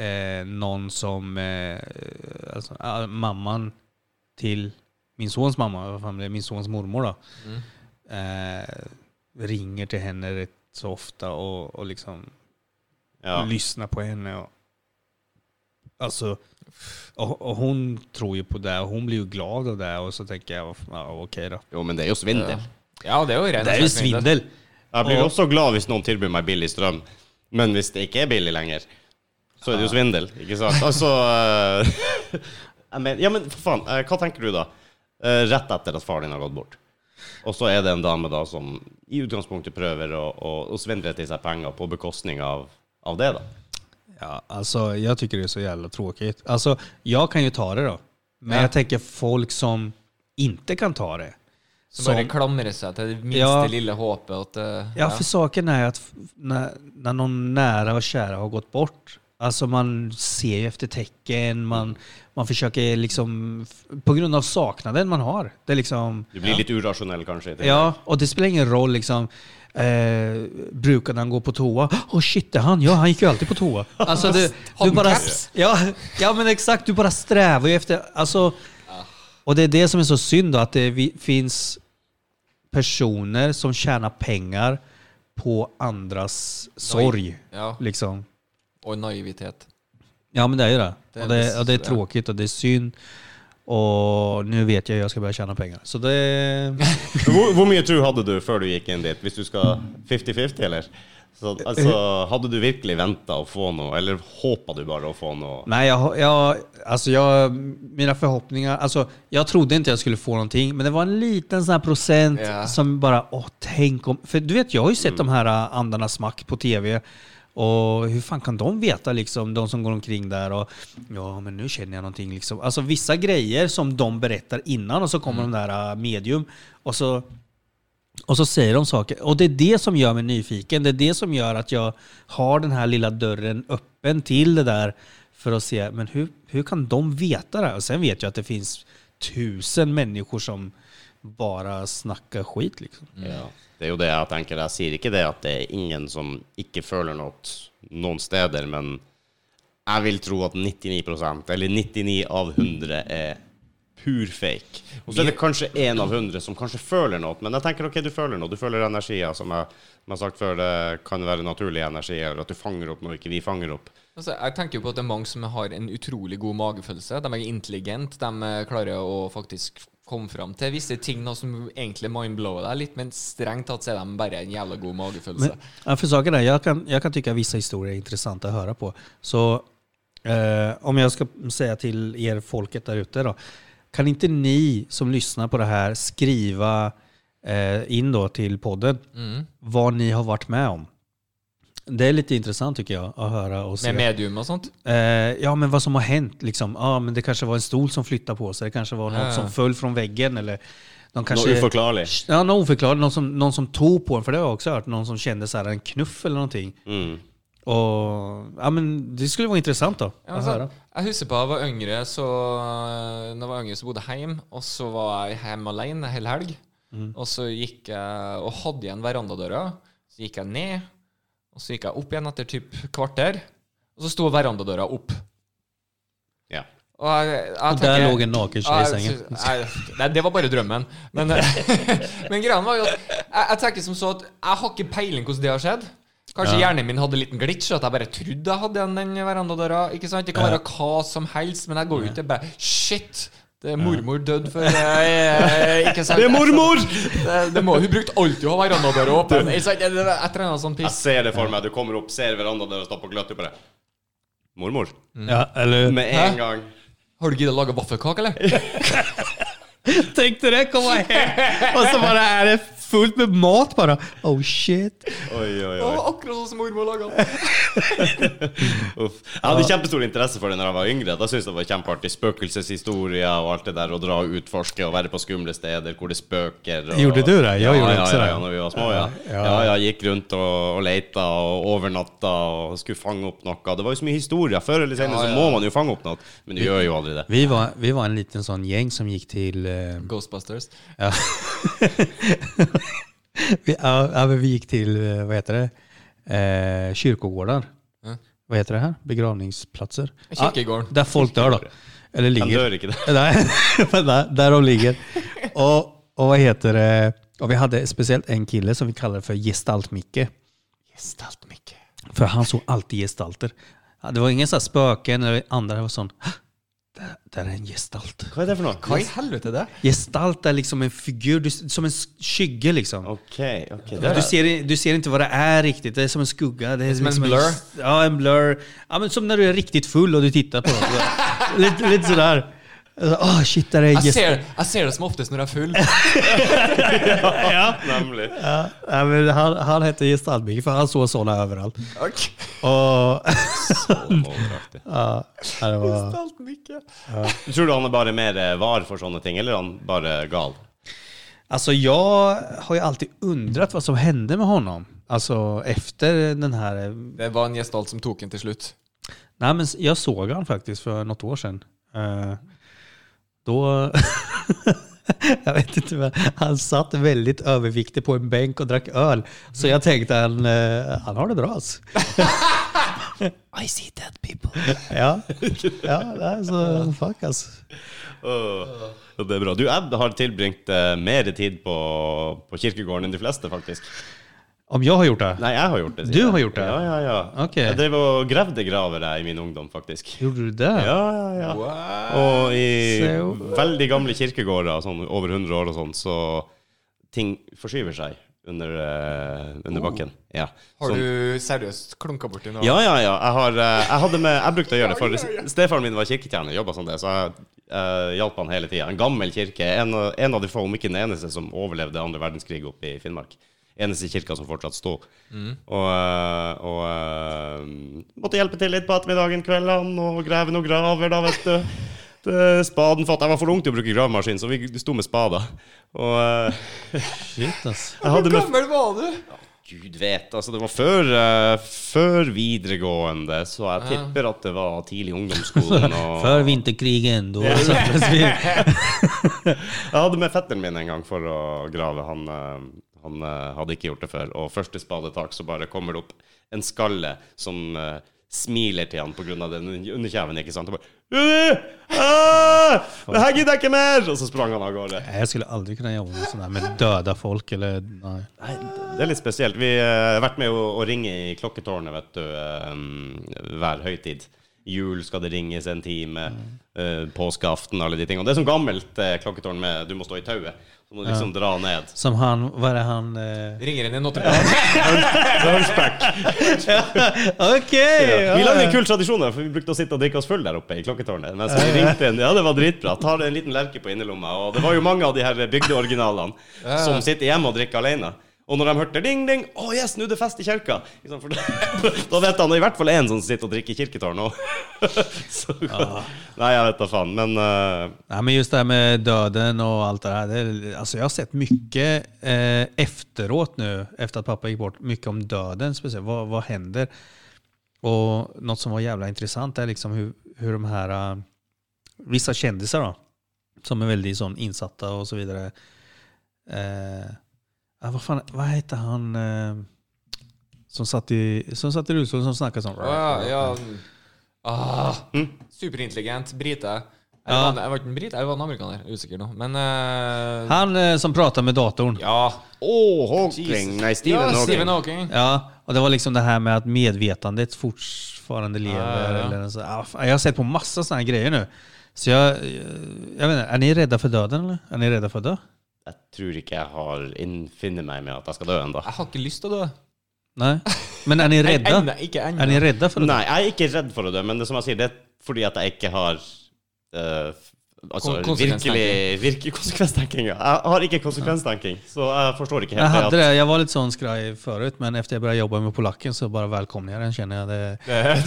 [SPEAKER 4] eh, någon som... Eh, alltså, ah, mamman till min sons mamma, vad fan blir det? min sons mormor då. Eh, ringer till henne rätt så ofta och, och liksom
[SPEAKER 3] Ja.
[SPEAKER 4] lyssna på henne. Och, alltså, och, och hon tror ju på det och hon blir ju glad av det och så tänker jag, ja, okej då.
[SPEAKER 3] Jo, men det er jo svindel.
[SPEAKER 2] Ja, det er jo rent.
[SPEAKER 4] Det är ju svindel.
[SPEAKER 3] Jeg blir
[SPEAKER 4] Og-
[SPEAKER 3] også glad hvis noen tilbyr meg billig strøm. Men hvis det ikke er billig lenger, så er det jo svindel, ikke sant? Altså eh, (laughs) jeg men, Ja, men for faen, eh, hva tenker du da? Eh, Rett etter at faren din har gått bort. Og så er det en dame da som i utgangspunktet prøver å, å, å svindle til seg penger på bekostning av, av det, da.
[SPEAKER 4] Ja, alltså, jag tycker det är så jävla tråkigt. Alltså, jag kan ju ta det då. Men
[SPEAKER 2] Ja.
[SPEAKER 4] jag tänker folk som inte kan ta det.
[SPEAKER 2] Som bare klamrer seg til det minste
[SPEAKER 4] Ja.
[SPEAKER 2] lille håpet at eh,
[SPEAKER 4] Ja, för saken är att f- när, när någon nära och kära har gått bort, alltså man ser ju efter tecken, man, man försöker liksom, f- på grund av saknaden man har. Det är liksom,
[SPEAKER 3] Du blir litt urasjonell, kanskje. i tillegg.
[SPEAKER 4] ja, och det spelar ingen roll liksom, eh, brukade han gå på toa? Åh shit, det är han, ja han gick ju alltid på toa. Alltså du, du bara,
[SPEAKER 2] Handcaps.
[SPEAKER 4] ja, ja men exakt, du bara strävar ju efter, alltså, och det är det som är så synd då, att det vi- finns personer som tjänar pengar på andras sorg.
[SPEAKER 2] Ja.
[SPEAKER 4] Liksom.
[SPEAKER 2] Og naivitet.
[SPEAKER 4] Ja men det är ju det.
[SPEAKER 2] Det är
[SPEAKER 4] och, det och det är
[SPEAKER 2] visst, ja.
[SPEAKER 4] tråkigt och det är synd. Och nu vet jag hur jag ska börja tjäna pengar. Så det...
[SPEAKER 3] Hvor, hvor mye tro hadde du før du gikk inn dit? Hvis du skal 50-50, eller? Så, altså, hadde du virkelig venta å få noe, eller håpa du bare å få noe?
[SPEAKER 4] Nej, jag, jag, alltså jag, mina förhoppningar, alltså jag trodde inte jag skulle få någonting, men det var en liten sån här procent
[SPEAKER 2] Ja.
[SPEAKER 4] som bara, åh tänk om, för du vet jag har ju sett de här äh, andarnas mack på tv, och hur fan kan de veta liksom, de som går omkring där och ja men nu känner jag någonting liksom. Alltså vissa grejer som de berättar innan och så kommer de där äh, medium och så och så säger de saker. Och det är det som gör mig nyfiken. Det är det som gör att jag har den här lilla dörren öppen till det där för att se, men hur, hur kan de veta det här? Och sen vet jag att det finns tusen människor som bara snackar skit liksom.
[SPEAKER 3] Ja. Det er jo det jeg tenker. Jeg sier ikke det at det er ingen som ikke føler noe noen steder, men jeg vil tro at 99 eller 99 av 100 er pur fake. Og så er det kanskje én av 100 som kanskje føler noe, men jeg tenker ok, du føler noe. Du føler energier som jeg, som jeg har sagt før, det kan være naturlige energier, eller at du fanger opp noe ikke vi fanger opp.
[SPEAKER 2] Altså, jeg tenker jo på at det er mange som har en utrolig god magefølelse. De er intelligente. De eh, klarer å faktisk komme fram til visse ting nå som egentlig mindblower deg litt, men strengt tatt så er de bare en jævla god
[SPEAKER 4] Men,
[SPEAKER 2] magefølelse.
[SPEAKER 4] ja, för saken är, jag kan, jag kan tycka vissa historier är intressanta att höra på. Så eh, om jag ska säga till er folket där ute då. Kan inte ni som lyssnar på det här skriva eh, in då till podden vad ni har varit med om? Det är lite intressant tycker jag att höra och se.
[SPEAKER 2] Med medium och sånt.
[SPEAKER 4] Eh, ja, men vad som har hänt. Liksom. Ja, men det kanske var en stol som flyttade på sig. Det kanske var något
[SPEAKER 2] Ja.
[SPEAKER 4] som föll från väggen. Eller de kanske,
[SPEAKER 3] Något oförklarlig.
[SPEAKER 4] Ja, något oförklarligt. Någon som, någon som tog på en, för det har jag också hört. Någon som kände så här, en knuff eller någonting.
[SPEAKER 3] Mm.
[SPEAKER 4] Och, ja, men det skulle vara intressant då.
[SPEAKER 2] Ja,
[SPEAKER 4] att
[SPEAKER 2] altså,
[SPEAKER 4] höra.
[SPEAKER 2] jeg husker på jeg var yngre, så Når jeg var yngre, så bodde jeg hjemme, og så var jeg hjemme alene en hel helg.
[SPEAKER 4] Mm.
[SPEAKER 2] Og så gikk jeg og hadde igjen verandadøra. Så gikk jeg ned, og så gikk jeg opp igjen etter typ kvarter. Og så sto verandadøra opp.
[SPEAKER 3] Ja.
[SPEAKER 2] Og, jeg, jeg
[SPEAKER 4] Och där
[SPEAKER 2] tenker-
[SPEAKER 4] låg en naken tjej i
[SPEAKER 2] Ja,
[SPEAKER 4] sängen.
[SPEAKER 2] jeg- jeg- Nei, det var bare drømmen. Men, eh, (laughs) men greia var jo at jeg, jeg tenker som så at jeg har ikke peiling hvordan det har skjedd. Kanskje hjernen min hadde en liten glitch, at jeg bare trodde jeg hadde igjen den verandadøra. Ikke sant? Det kan være hva som helst, men jeg går jo ikke bare Shit! Det er mormor død for eh, Ikke sant?
[SPEAKER 3] Det er mormor!
[SPEAKER 2] Det, det må, hun brukte alltid å ha verandadøra åpen. Ikke sant? Det- det- Jeg trenger sånn
[SPEAKER 3] Jeg
[SPEAKER 2] piss.
[SPEAKER 3] ser det for meg. Du kommer opp, ser verandaen der og står på gløtt. Du bare Mormor.
[SPEAKER 4] Mm. (laughs) Ja, eller,
[SPEAKER 3] Med en gang.
[SPEAKER 2] Har du giddet å lage vaffelkake, eller?
[SPEAKER 4] Tänk dig det, komma hem och så bara är det fullt med mat bara. Oh shit.
[SPEAKER 3] Oi, oi,
[SPEAKER 2] Ja,
[SPEAKER 3] oi.
[SPEAKER 2] akkurat sånn som mormor laga.
[SPEAKER 3] Uff. Jeg hadde kjempestor interesse for det når jeg var yngre. Da syntes jeg det var kjempeartig. Spøkelseshistorier og alt det der. Å dra og utforske og være på skumle steder hvor det spøker. Og...
[SPEAKER 4] Gjorde du det? Jeg
[SPEAKER 3] ja,
[SPEAKER 4] gjorde
[SPEAKER 3] ja,
[SPEAKER 4] ikke
[SPEAKER 3] ja,
[SPEAKER 4] det.
[SPEAKER 3] ja, når vi var små, ja.
[SPEAKER 4] Ja.
[SPEAKER 3] Ja, ja, gikk rundt og, og leita og overnatta og skulle fange opp noe. Det var jo så mye historier. Før eller senere
[SPEAKER 2] Ja, ja.
[SPEAKER 3] så må man jo fange opp noe, men du gjør jo aldri det.
[SPEAKER 4] Vi var, vi var en liten sån gäng som gick till... eh,
[SPEAKER 2] Ghostbusters.
[SPEAKER 4] ja. (laughs) vi, ja, ja, men vi gick till, eh, vad heter det, eh, kyrkogårdar.
[SPEAKER 2] Mm.
[SPEAKER 4] Vad heter det här? Begravningsplatser.
[SPEAKER 2] Kyrkogården.
[SPEAKER 4] där folk dör då. Eller
[SPEAKER 3] Han
[SPEAKER 4] ligger.
[SPEAKER 3] dør ikke det.
[SPEAKER 4] (laughs) Nej, men där, där de ligger. Och, och vad heter det? Och vi hade speciellt en kille som vi kallade för Gestalt-Micke.
[SPEAKER 2] Gestalt Micke.
[SPEAKER 4] För han såg alltid gestalter. Ja, Det var ingen så här spöken eller andra. Det var sånn "Hå! där, där är en gestalt.
[SPEAKER 3] Hva er det for noe?
[SPEAKER 2] Hva i helvete er det?
[SPEAKER 4] Gestalt är liksom en figur, du, som en sk- skygge liksom.
[SPEAKER 3] Ok, ok. Det
[SPEAKER 4] Du
[SPEAKER 3] er
[SPEAKER 4] ser, du ser inte vad det är riktigt, det är som en skugga. Det är
[SPEAKER 2] Som en
[SPEAKER 4] liksom
[SPEAKER 2] blur.
[SPEAKER 4] ja, en blur. Ja, men som när du är riktigt full och du tittar på
[SPEAKER 2] (laughs)
[SPEAKER 4] något. sådär. lite, lite sådär. Alltså, Åh shit, där är en
[SPEAKER 2] Jeg
[SPEAKER 4] gestalt.
[SPEAKER 2] ser, jeg ser det som oftest når jeg er full.
[SPEAKER 3] nemlig.
[SPEAKER 4] Ja, ja, men han, han hette Gestaltmicke för han såg sådana överallt. Och, (laughs)
[SPEAKER 3] Overaktig.
[SPEAKER 4] ja, det var,
[SPEAKER 2] Gestalt Micke.
[SPEAKER 3] Tror du han er bare mer eh, var for sånne ting, eller er han bare gal?
[SPEAKER 4] alltså jag har ju alltid undrat vad som hände med honom. Alltså efter den här
[SPEAKER 2] Det var en gestalt som tok den til slutt.
[SPEAKER 4] Nej, men jag såg han faktiskt för något år sedan. Eh, då... (laughs) jag vet inte, men han satt väldigt överviktig på en bänk och drack öl. Så jag tänkte han, eh, han har det bra alltså.
[SPEAKER 2] (laughs) I see dead people.
[SPEAKER 4] (laughs) Ja, ja nej, så fuck alltså. Øh.
[SPEAKER 3] Åh, det er bra. Du, jeg har tilbringt eh, mer tid på, på kirkegården enn de fleste, faktisk.
[SPEAKER 4] Om jag har gjort det?
[SPEAKER 3] Nei, jeg har gjort det. sier
[SPEAKER 4] Du
[SPEAKER 3] jeg.
[SPEAKER 4] har gjort det?
[SPEAKER 3] Ja, ja, ja.
[SPEAKER 4] Ok.
[SPEAKER 3] Jeg drev og gravde graver jeg i min ungdom, faktisk.
[SPEAKER 4] Gjorde du det?
[SPEAKER 3] Ja, ja, ja.
[SPEAKER 2] Wow.
[SPEAKER 3] Og i
[SPEAKER 4] Så-
[SPEAKER 3] veldig gamle kirkegårder, sånn over 100 år og sånn, så ting forskyver seg under, eh, under bakken. Ja.
[SPEAKER 2] Har
[SPEAKER 3] Sånn-
[SPEAKER 2] du seriøst klunka borti noe?
[SPEAKER 3] Ja, ja, ja. Jeg, har, eh, jeg, hadde med, jeg brukte å gjøre det, for stefaren min var kirketjener, jobba som det, så jeg eh, hjalp han hele tida. En gammel kirke. En, av- en av de få, om ikke den eneste, som overlevde andre verdenskrig oppe i Finnmark. Eneste kirka som fortsatt sto. Og, eh, og eh, måtte hjelpe til litt på ettermiddagen, kveldene, og grave noen graver, da, vet du. Det- Spaden fatt. Jeg var for ung til å bruke gravemaskin, så vi sto med spader. Og eh,
[SPEAKER 4] Shit alltså.
[SPEAKER 3] jeg hadde
[SPEAKER 2] Hvor
[SPEAKER 3] med
[SPEAKER 2] gammel var du?
[SPEAKER 3] Gud vet, altså det var før, eh, før videregående, så jeg tipper at det var tidlig
[SPEAKER 4] (laughs)
[SPEAKER 3] ungdomsskolen. Og
[SPEAKER 4] För vinterkrigen, då samlades vi.
[SPEAKER 3] jeg hadde med fetteren min en gang for å grave. Han, eh, han eh, hadde ikke gjort det før. Og første spadetak så bare kommer det opp en skalle som eh, smiler til han pga. den underkjeven, ikke sant? Og bare «Øh! Ah! Det her gidder jeg ikke mer! Og så sprang han av gårde.
[SPEAKER 4] Nej, Jag skulle aldrig kunna jobba med sådär med döda folk eller... Nej.
[SPEAKER 3] Nei, det er litt spesielt. Vi eh, har vært med å, å ringe i klokketårnet vet du, eh, hver høytid. Jul skal det ringes en time, eh, påskeaften, alle de tingene. Det er som gammelt eh, klokketårn med du må stå i tauet. Så må du liksom dra ned.
[SPEAKER 4] Som han, vad är det han... Eh...
[SPEAKER 2] Ringer inn i Notre Dame.
[SPEAKER 4] Okej!
[SPEAKER 3] Ja. Vi lagde en kul tradisjon der, for vi brukte å sitte og drikke oss full der oppe i klokketårnet. Mens vi ringte en, ja, det var dritbra. Tar en liten lerke på innerlomma. Og det var jo mange av de her bygdeoriginalene som sitter hjemme og drikker alene. Og når de hørte ding, ding, å yes, nå er det fest i Liksom, kirka! Ikke sant, For da, da vet han i hvert fall én som sitter og drikker i kirketårnet (laughs) òg. Nei, jeg vet da faen. Men eh,
[SPEAKER 4] Nej, men just det här med döden och allt det här. Det, är- alltså jag har sett mycket eh, efteråt nu, efter att pappa gick bort, mycket om döden speciellt. Vad, vad händer? Och något som var jävla intressant är liksom hur, hur de här, eh, vissa kändisar då, som är väldigt sån insatta och så vidare. Eh, ja, vad fan, vad hette han eh, som satt i, som satt i rullstol som snackade sån?
[SPEAKER 2] Ja, ja. Ah, superintelligent brite. Jeg
[SPEAKER 4] Mm. Ja.
[SPEAKER 2] var, jeg var ikke en brite, jeg var en amerikaner. Usikker nå. Men eh,
[SPEAKER 4] Han eh, som pratar med datorn.
[SPEAKER 2] ja.
[SPEAKER 3] Åh, Hawking! Nei, Stephen
[SPEAKER 2] ja,
[SPEAKER 3] Hawking.
[SPEAKER 2] Stephen Hawking.
[SPEAKER 4] Ja, och det var liksom det här med att medvetandet fortfarande lever.
[SPEAKER 2] Ja, ja.
[SPEAKER 4] Eller en så, ah, fan, jag har sett på massa sådana här grejer nu. Så jag, eh, jag vet inte, är ni rädda för döden eller? Är ni rädda för att dö?
[SPEAKER 3] Jeg tror ikke jeg har innfinner meg med at jeg skal dø ennå.
[SPEAKER 2] Jeg har ikke lyst til å dø.
[SPEAKER 4] Nej? Men är
[SPEAKER 2] (laughs)
[SPEAKER 4] ni rädda?
[SPEAKER 2] Ennå, ikke
[SPEAKER 4] Är ni
[SPEAKER 2] ennå.
[SPEAKER 4] rädda för att dö?
[SPEAKER 3] Nei, jeg er ikke redd for å dø, men det er som jeg sier, det er fordi at jeg ikke har eh, altså,
[SPEAKER 2] Kon- konsekvenstanking.
[SPEAKER 3] virkelig, virkelig konsekvenstanking. Ja. Jeg har ikke konsekvenstanking, så jeg forstår ikke
[SPEAKER 4] Jag
[SPEAKER 3] helt
[SPEAKER 4] hade
[SPEAKER 3] det.
[SPEAKER 4] det, jag var lite sån skraj förut men efter jag började jobba med polacken så bara välkomnar jag den känner jag. Det, (laughs)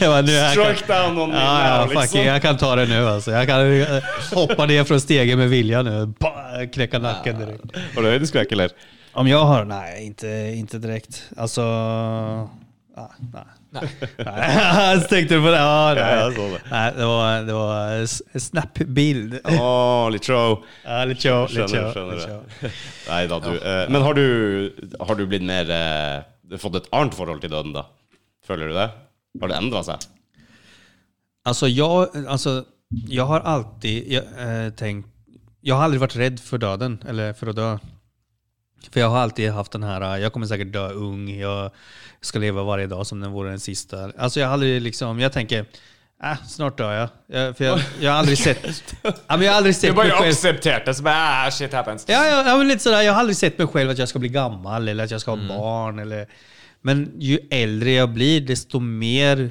[SPEAKER 4] jag bara, nu är
[SPEAKER 3] At
[SPEAKER 4] jag
[SPEAKER 3] strike down on me
[SPEAKER 4] Ja, ja,
[SPEAKER 3] now,
[SPEAKER 4] fucking,
[SPEAKER 3] liksom.
[SPEAKER 4] jag kan ta det nu alltså. Jag kan eh, hoppa ner från stegen med vilja nu. Bah, knäcka nacken direkt.
[SPEAKER 3] Har du høydeskrekk, eller?
[SPEAKER 4] Om jag har? Nej, inte, inte direkt. Alltså... Ah, nej. Nej. (laughs) jag tänkte på det. Ah,
[SPEAKER 3] Ja,
[SPEAKER 4] nej.
[SPEAKER 3] jag såg det.
[SPEAKER 4] nej, det var, det var s- en snap-bild.
[SPEAKER 3] Å, litt show.
[SPEAKER 4] Ja, lite show, lite
[SPEAKER 3] Skjønner,
[SPEAKER 4] show. Lite
[SPEAKER 3] skjønner
[SPEAKER 4] show.
[SPEAKER 3] (laughs) det. Nei da, du. eh, Men har du, har du blitt mer eh, Fått et annet forhold til døden, da? Føler du det? Har det endra seg?
[SPEAKER 4] Alltså, jag, alltså, jag har alltid jag, eh, tänkt... Jag har aldrig varit rädd för döden, eller för att dö. För jag har alltid haft den här, jag kommer säkert dö ung, jag ska leva varje dag som den vore den sista. Alltså jag har aldrig liksom, jag tänker, äh, snart dör jag. jag för jag, jag har aldrig sett, ja, men jag har aldrig
[SPEAKER 2] Du
[SPEAKER 4] sett
[SPEAKER 2] bare
[SPEAKER 4] mig själv.
[SPEAKER 2] aksepterte det som ah, shit happens.
[SPEAKER 4] Ja, ja, ja men lite sådär, jag har aldrig sett mig själv att jag ska bli gammal eller att jag ska ha barn. Eller, men ju äldre jag blir, desto mer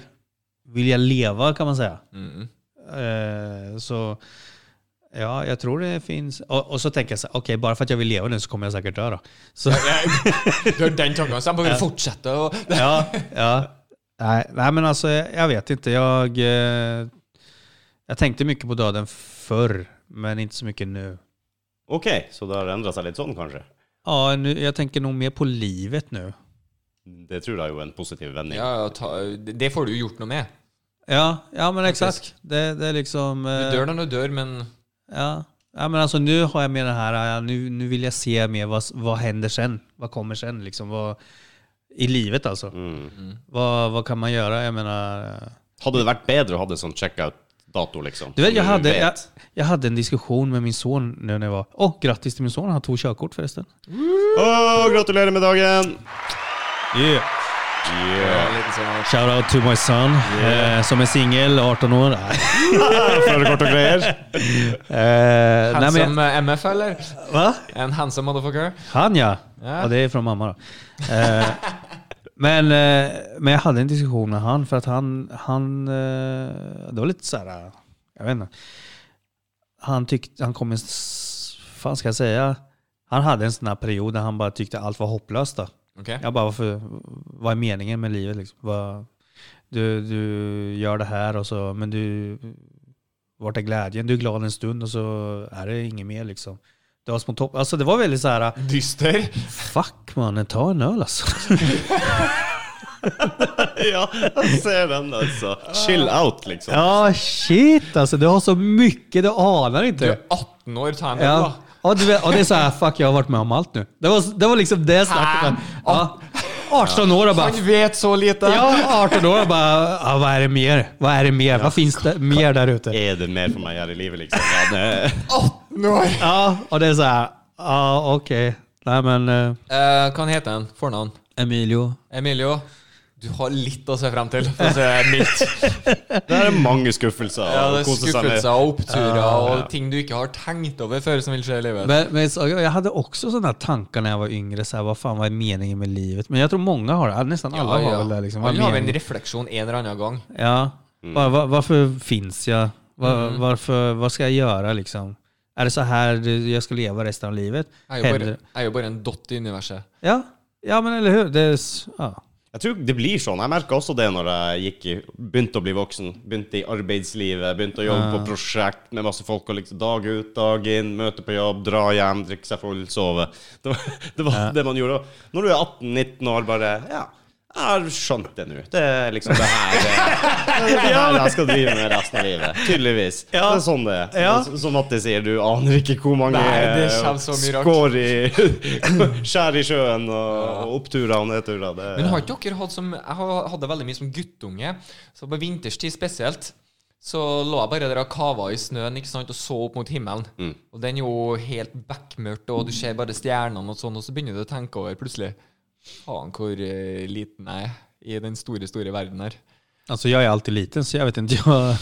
[SPEAKER 4] vill jag leva kan man säga. Eh, så ja, jag tror det finns. Och, och så tänker jag så här, okej, bara för att jag vill leva nu så kommer jag säkert dö då. Så,
[SPEAKER 2] Du har den tanken, så han bare vil fortsette å
[SPEAKER 4] (laughs) ja, ja. Nej, nej, men alltså jag, jag vet inte. Jag, eh, jag tänkte mycket på döden förr, men inte så mycket nu.
[SPEAKER 3] Ok, så det har endra seg litt sånn, kanskje?
[SPEAKER 4] Ja, nu, jag tänker nog mer på livet nu.
[SPEAKER 3] Det tror jeg er jo en positiv vending.
[SPEAKER 2] ja, ja, ta, Det får du jo gjort noe med.
[SPEAKER 4] Ja, ja men
[SPEAKER 2] Faktiskt.
[SPEAKER 4] exakt. Det, det är liksom... eh,
[SPEAKER 2] Du dør når du dør, men
[SPEAKER 4] Ja. ja, men alltså nu har jag med den här, ja, nu, nu vill jag se mer vad, vad händer sen. Vad kommer sen liksom? Vad, I livet alltså.
[SPEAKER 3] Mm.
[SPEAKER 4] Vad, vad kan man göra? Jag menar... eh,
[SPEAKER 3] Hadde det vært bedre å ha det sånn check-out-dato, liksom?
[SPEAKER 4] Du vet,
[SPEAKER 3] Som
[SPEAKER 4] jag hade, jag,
[SPEAKER 3] vet.
[SPEAKER 4] jag hade en diskussion med min son nu när jag var... Åh, oh, grattis till min son, han tog körkort förresten.
[SPEAKER 3] Åh, gratulerer med dagen!
[SPEAKER 4] Yeah.
[SPEAKER 2] ja,
[SPEAKER 3] Yeah.
[SPEAKER 2] litt sånn
[SPEAKER 4] Shout out to my son, eh, som är singel, 18
[SPEAKER 2] (laughs)
[SPEAKER 4] år.
[SPEAKER 3] Førerkort og greier.
[SPEAKER 4] eh, nej, men,
[SPEAKER 2] Handsome eh, MF, eller?
[SPEAKER 4] va?
[SPEAKER 2] En handsome motherfucker?
[SPEAKER 4] Han ja.
[SPEAKER 2] Ja.
[SPEAKER 4] ja. Och det är från mamma då. Eh, men, eh, men jag hade en diskussion med han för att han, han eh, det var lite så här, jag vet inte. Han tyckte, han kom med, en s- fan ska jag säga, han hade en sån här period där han bara tyckte allt var hopplöst då.
[SPEAKER 2] Ok.
[SPEAKER 4] Jag bara, varför, vad är meningen med livet? Liksom? Vad, du, du gör det här och så, men du, vart är glädjen? Du är glad en stund och så är det inget mer liksom. Det var små topp, alltså det var väldigt så här,
[SPEAKER 2] Dyster?
[SPEAKER 4] Fuck mannen, ta en öl alltså.
[SPEAKER 3] Ja, jeg ser den, altså. Chill out, liksom.
[SPEAKER 4] Ja shit alltså, du har så mycket du anar
[SPEAKER 2] Du
[SPEAKER 4] inte.
[SPEAKER 2] er 18 år, ta en øl,
[SPEAKER 4] Ja.
[SPEAKER 2] da.
[SPEAKER 4] Ja, du vet, och det är så här, fuck jag har varit med om allt nu. Det var, det var liksom det snacket. Ja. 18 år och bara,
[SPEAKER 2] Han vet så lite!
[SPEAKER 4] ja 18 år och bara, ja, vad är det mer? Vad är det mer? Vad finns det mer där ute?
[SPEAKER 3] Er det mer for meg her i livet, liksom? Ja, det,
[SPEAKER 2] 18 år!
[SPEAKER 4] Ja, och det är så här, ja okej. Nej men eh,
[SPEAKER 2] Eh, hva han heter han? Fornavn?
[SPEAKER 4] Emilio.
[SPEAKER 2] Emilio? Du har litt å se frem til, for å si det mildt.
[SPEAKER 3] det er mange skuffelser.
[SPEAKER 2] Ja, det
[SPEAKER 3] å
[SPEAKER 2] er
[SPEAKER 3] kose seg med.
[SPEAKER 2] skuffelser og oppturer og
[SPEAKER 3] ja.
[SPEAKER 2] ting du ikke har tenkt over før, som vil skje i livet.
[SPEAKER 4] Men, men så, jag hade också sådana tankar när jag var yngre, så här, vad fan vad är meningen med livet? Men jag tror många har det, nästan alla har väl det. Liksom, vad är
[SPEAKER 2] Alle har vel en
[SPEAKER 4] meningen?
[SPEAKER 2] refleksjon en eller annen gang.
[SPEAKER 4] Ja. Var, var, varför finns jag? Var, varför, vad ska jag göra liksom? Är det så här du- jag ska leva resten av livet?
[SPEAKER 2] Jeg er jo bare,
[SPEAKER 4] Händer-
[SPEAKER 2] jeg er jo bare en dott i universet.
[SPEAKER 4] Ja. ja, men eller hur? Det är, s- ja.
[SPEAKER 3] Jeg tror det blir sånn. Jeg merka også det når jeg gikk i, begynte å bli voksen. Begynte i arbeidslivet, begynte å jobbe
[SPEAKER 2] Ah.
[SPEAKER 3] på prosjekt med masse folk. og liksom Dag ut, dag inn, møte på jobb, dra hjem, drikke seg full, sove. (laughs) Det var, det, var
[SPEAKER 2] Ah.
[SPEAKER 3] det man gjorde. Og Når du er 18-19 år, bare Ja, jeg har skjønt det nå. Det er liksom det her
[SPEAKER 2] (laughs)
[SPEAKER 3] Det det er det her jeg skal drive med resten av livet. Tydeligvis.
[SPEAKER 4] Ja.
[SPEAKER 3] Det er sånn det er.
[SPEAKER 4] Ja.
[SPEAKER 3] S- Som Matti sier, du aner ikke hvor mange
[SPEAKER 2] Nei, det kommer så mye rart.
[SPEAKER 3] skår i (laughs) Skjær i sjøen og, og oppturer og nedturer. Det
[SPEAKER 2] Men har ikke dere hatt som Jeg har- hadde veldig mye som guttunge, så på vinterstid spesielt, så lå jeg bare der og kava i snøen ikke sant, og så opp mot himmelen. Og den er jo helt bekmørkt, og du ser bare stjernene og sånn, og så begynner du å tenke over plutselig Faen, hvor eh, liten jeg er i den store, store verden her.
[SPEAKER 4] Alltså jag är alltid liten så jag vet inte. Jag,